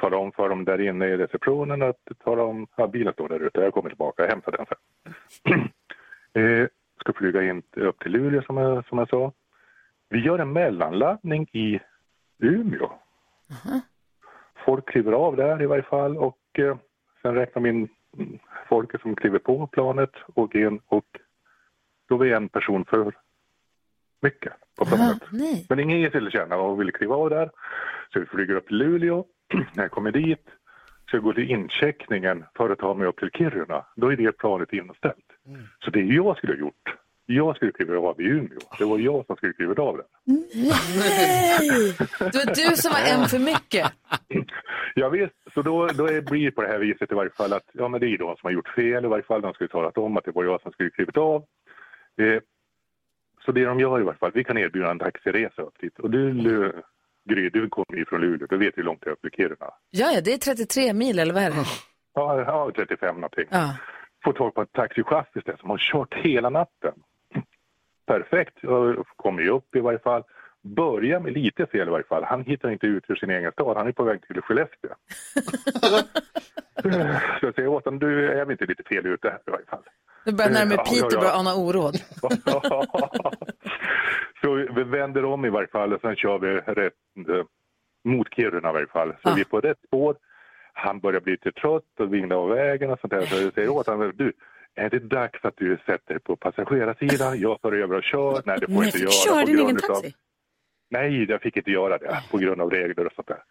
Speaker 19: tala om för dem där inne i receptionen att tala om att ja, bilen står där ute, jag kommer tillbaka, jag hämtar den sen. <clears throat> eh, ska flyga in upp till Luleå som jag, som jag sa. Vi gör en mellanlandning i Umeå. Folk kliver av där i varje fall och eh, sen räknar vi in mm, folket som kliver på planet och in och då var en person för mycket på planet. Men ingen ger sig till känna och vill kliva av där. Så vi flyger upp till Luleå. <clears throat> När jag kommer dit så jag går till incheckningen för att ta mig upp till Kiruna. Då är det planet inställt. Så det jag skulle ha gjort, jag skulle kliva av i Umeå. Det var jag som skulle kliva av den.
Speaker 1: Nej! Det var du som var en för mycket.
Speaker 19: Ja, visst, så då, då är- blir det på det här viset i varje fall att ja, men det är ju de som har gjort fel. I varje fall de skulle talat om att det var jag som skulle klivit av. Eh, så det de gör i varje fall, vi kan erbjuda en taxiresa upp dit. Och du, Lu- Gry, du kommer ju från Luleå, du vet hur långt det är upp till Kiruna.
Speaker 1: Ja, ja, det är 33 mil eller vad
Speaker 19: Ah.
Speaker 1: är
Speaker 19: Ja,
Speaker 1: det?
Speaker 19: ja 35 någonting.
Speaker 1: Ja.
Speaker 19: Får tag på en taxichaffis där som har kört hela natten. Perfekt, Jag kommer ju upp i varje fall. Börjar med lite fel i varje fall. Han hittar inte ut ur sin egen stad, han är på väg till Skellefteå. Så jag säger åt honom, du är vi inte lite fel ute här i varje fall?
Speaker 1: Nu börjar jag närma mig
Speaker 19: Ja,
Speaker 1: Piteå
Speaker 19: ja,
Speaker 1: och
Speaker 19: ja.
Speaker 1: börjar
Speaker 19: <laughs>
Speaker 1: ana oråd.
Speaker 19: Så vi vänder om i varje fall och sen kör vi rätt, eh, mot Kiruna i varje fall. Så vi är på rätt spår. Han börjar bli lite trött och vingla av vägen och sånt där. Så jag säger åt honom, du, är det dags att du sätter dig på passagerarsidan? Jag tar över och kör. Nej, det får jag inte göra. på grund utav- Nej, jag fick inte göra det på grund av regler och sånt där.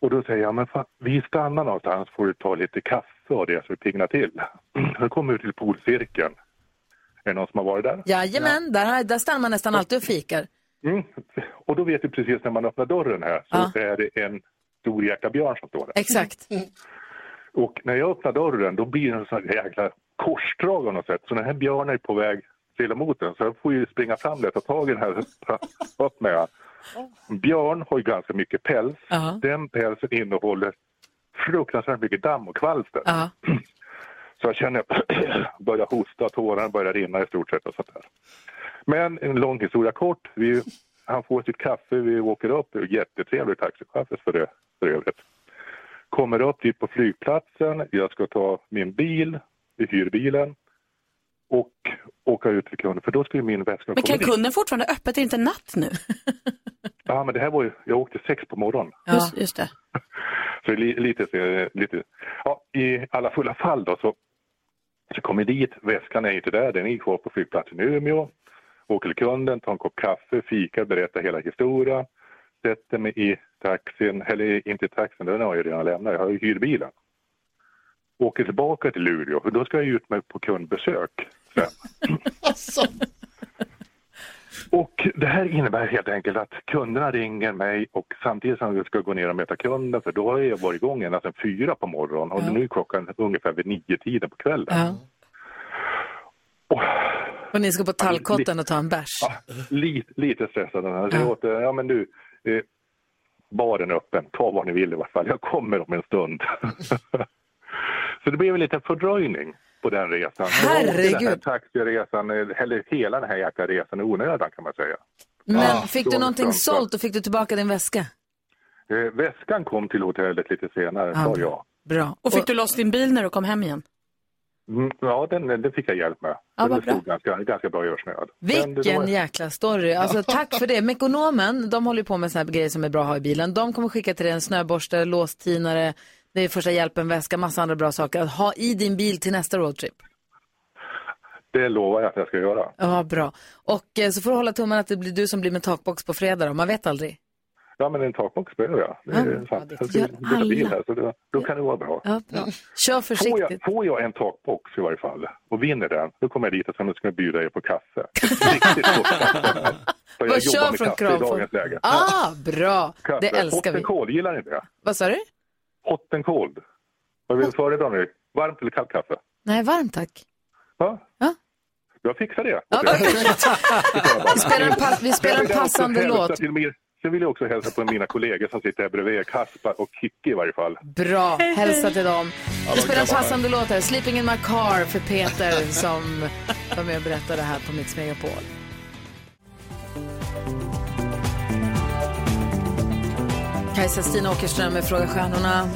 Speaker 19: Och då säger jag, men fan, vi stannar någonstans får du ta lite kaffe och det så vi piggnar till. <clears throat> Jag kommer ut till polcirkeln. Är det någon som har varit där?
Speaker 1: Jajamän, där, har- där stannar man nästan alltid och fikar.
Speaker 19: Mm. Och då vet du precis när man öppnar dörren här så är det en stor jäkla björn som står där.
Speaker 1: Exakt.
Speaker 19: Och när jag öppnar dörren då blir det en sån här jäkla korsdrag av något sätt. Så den här björnen är på väg till emot den. Så jag får ju springa fram där, ta tag i den här, <laughs> ta upp med den. Björn har ju ganska mycket päls. Den pälsen innehåller fruktansvärt mycket damm och kvalster. Så jag känner <clears throat> att jag börjar hosta, tårarna börjar rinna i stort sett och sånt där. Men en lång historia kort. Vi, han får sitt kaffe, vi åker upp. Det är Jättetrevlig taxichaufför för, det- för övrigt. Kommer upp dit på flygplatsen. Jag ska ta min bil, vi hyr bilen och åka ut till kunden. För då skulle min väska
Speaker 7: Men kan
Speaker 19: komma dit.
Speaker 7: kunden fortfarande ha öppet? Är det inte natt nu?
Speaker 19: Ja, men det här var ju, jag åkte sex på morgonen.
Speaker 7: Just, just det.
Speaker 19: Så li, lite, så- lite, ja, i alla fulla fall då så, så kommer jag dit, väskan är inte där, den är kvar på flygplatsen i Umeå. Åker till kunden, tar en kopp kaffe, fika, berättar hela historien. Sätter mig i taxin, eller inte i taxin, den har jag ju redan lämnat, jag har ju hyrbilen. Åker tillbaka till Luleå, och då ska jag ut med på kundbesök.
Speaker 1: Alltså.
Speaker 19: Och det här innebär helt enkelt att kunderna ringer mig och samtidigt som jag ska gå ner och möta kunden för då har jag varit igång ända sedan fyra på morgonen och nu är klockan ungefär vid nio tiden på kvällen.
Speaker 1: Ja. Och ni ska på tallkotten och ta en bärs.
Speaker 19: Ah, Lite, lite stressad. Jag säger åt dig, ja men du, eh, baren är öppen, ta vad ni vill i varje fall, jag kommer om en stund. <laughs> Så det blev en liten fördröjning på den resan.
Speaker 1: Herregud.
Speaker 19: Den här taxiresan, eh, eller hela den här jäkla resan i onödan kan man säga.
Speaker 1: Men fick du
Speaker 19: ah, Dåligt
Speaker 1: någonting
Speaker 19: framfört.
Speaker 1: sålt och fick du tillbaka din väska?
Speaker 19: Eh, väskan kom till hotellet lite senare, sa jag.
Speaker 1: Bra.
Speaker 7: Och fick du loss din bil när du kom hem igen?
Speaker 19: Mm, ja, den, den fick jag hjälp med.
Speaker 7: Ja,
Speaker 19: den
Speaker 7: vad bra.
Speaker 19: stod ganska, ganska bra översnöad. Men det var-
Speaker 1: Vilken jäkla story. Alltså, tack för det. Mekonomen, de håller ju på med såna här grejer som är bra att ha i bilen. De kommer skicka till dig en snöborste, låstinare, det är första hjälpen-väska, massa andra bra saker att ha i din bil till nästa roadtrip.
Speaker 19: Det lovar jag att jag ska göra.
Speaker 1: Ja, bra. Och eh, så får du hålla tummen att det blir du som blir med takbox på fredag då. Man vet aldrig.
Speaker 19: Ja, men en takbox behöver jag. Det
Speaker 1: Ja,
Speaker 19: är sant. Jag ska byta bil här, så då, då kan det vara bra.
Speaker 1: Ja, bra. Kör
Speaker 19: Får jag, får jag en takbox i varje fall och vinner den, då kommer jag dit och sen ska jag bjuda er på kaffe. Riktigt gott
Speaker 1: <laughs>
Speaker 19: kaffe. För jag
Speaker 1: Vad
Speaker 19: jobbar
Speaker 1: kör
Speaker 19: med
Speaker 1: från
Speaker 19: kaffe i
Speaker 1: Kramfors?
Speaker 19: dagens läge. eh,
Speaker 1: Ah, bra.
Speaker 19: Kaffe.
Speaker 1: Det älskar vi.
Speaker 19: Hottenkoll, gillar ni det?
Speaker 1: Vad sa du?
Speaker 19: Hot and cold. Vad vill du föredra nu? Varmt eller kallt kaffe?
Speaker 1: Nej, varmt tack.
Speaker 19: Ja. Jag fixar <laughs> det.
Speaker 1: Ja, perfekt. Vi spelar en pa- vi spelar en
Speaker 19: Jag vill också
Speaker 1: passande
Speaker 19: hälsa
Speaker 1: låt.
Speaker 19: till min- Sen vill jag också hälsa på mina kollegor som sitter här bredvid, Kaspar och Kikki i varje fall.
Speaker 1: Bra, hälsa till dem.
Speaker 19: Ja,
Speaker 1: Vi
Speaker 19: de
Speaker 1: spelar en
Speaker 19: kan vara
Speaker 1: passande låt här, Sleeping in my car för Peter som var med och berättade här på Mix Megapol. Kajsa Stina Åkerström med Fråga Stjärnorna.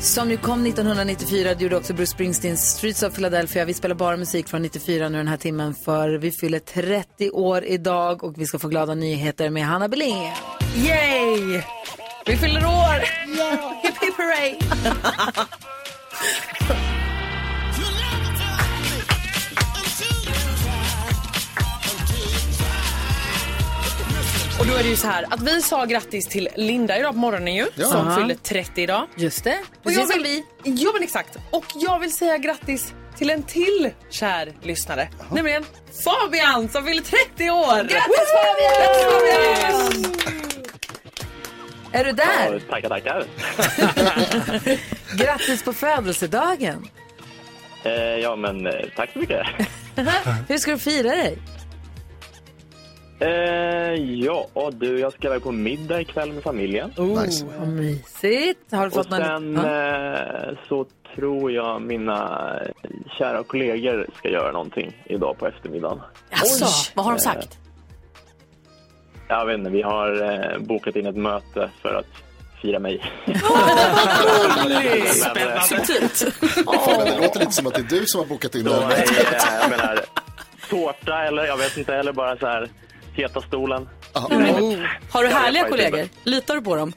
Speaker 1: Som ju kom 1994, det gjorde också Bruce Springsteens Streets of Philadelphia. Vi spelar bara musik från 94 nu den här timmen för vi fyller 30 år idag och vi ska få glada nyheter med Hanna Belén.
Speaker 4: Yay! Vi fyller år! Hipp hipp hurray! Och då är det ju så här att vi sa grattis till Linda idag på morgonen ju,
Speaker 1: Ja.
Speaker 4: som
Speaker 1: Ja.
Speaker 4: fyller 30 idag.
Speaker 1: Just det,
Speaker 4: Och
Speaker 1: precis
Speaker 4: jag
Speaker 1: som
Speaker 4: vill, Ja men exakt. Och jag vill säga grattis till en till kär lyssnare. Nämligen Fabian som fyller 30 år!
Speaker 1: Grattis, Fabian! Är du där?
Speaker 20: Ja, tackar, tackar.
Speaker 1: Grattis på födelsedagen!
Speaker 20: Eh, ja, men eh, tack så mycket.
Speaker 1: Hur ska du fira dig?
Speaker 20: Eh, ja, och du, jag ska iväg på middag ikväll med familjen.
Speaker 1: Nice. Vad mysigt! Har du
Speaker 20: Oh, Och
Speaker 1: fått någon...
Speaker 20: sen
Speaker 1: Ja.
Speaker 20: eh, så tror jag mina eh, kära kollegor ska göra någonting idag på eftermiddagen.
Speaker 7: Alltså, vad har de
Speaker 20: Eh,
Speaker 7: sagt?
Speaker 20: Jag vet inte, vi har eh, bokat in ett möte för att fira mig.
Speaker 2: roligt!
Speaker 20: <laughs> Men, eh, <laughs>
Speaker 7: Subtilt.
Speaker 2: Fan, men det låter lite som att det är du som har bokat in det
Speaker 20: Då är,
Speaker 2: här.
Speaker 20: eh, jag menar, tårta eller jag vet inte, eller bara så här heta stolen.
Speaker 2: Oh.
Speaker 7: Har du
Speaker 20: Ja,
Speaker 7: härliga
Speaker 20: jag är
Speaker 7: kollegor?
Speaker 20: faktiskt-
Speaker 7: Litar du på dem?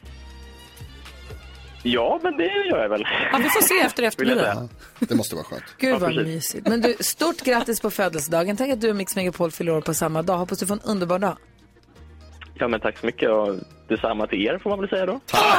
Speaker 20: Ja, men det gör jag väl.
Speaker 7: Ja, vi får se efter eftermiddag.
Speaker 2: Det måste vara skönt.
Speaker 1: Gud vad mysigt. Men du, stort grattis på födelsedagen. Tänk att du och Mix Megapol fyller år på samma dag. Hoppas du får en underbar dag.
Speaker 20: Ja, men tack så mycket och detsamma till er får man väl säga då.
Speaker 1: Ja.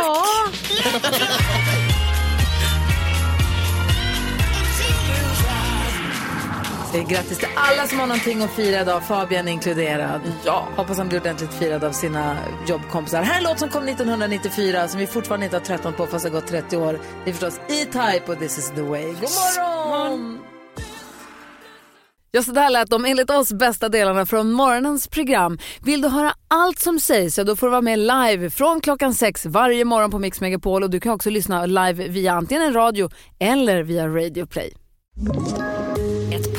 Speaker 1: Säg grattis till alla som har någonting att fira idag, Fabian inkluderad. Ja. Hoppas han blir ordentligt firad av sina jobbkompisar. Här är en låt som kom 1994 som vi fortfarande inte har tröttnat på fast det har gått 30 år. Det är förstås E-Type och This is the way. God morgon!
Speaker 21: Ja, så där lät de enligt oss bästa delarna från morgonens program. Vill du höra allt som sägs så då får du vara med live från klockan sex varje morgon på Mix Megapol och du kan också lyssna live via antingen en radio eller via Radio Play.
Speaker 22: Ett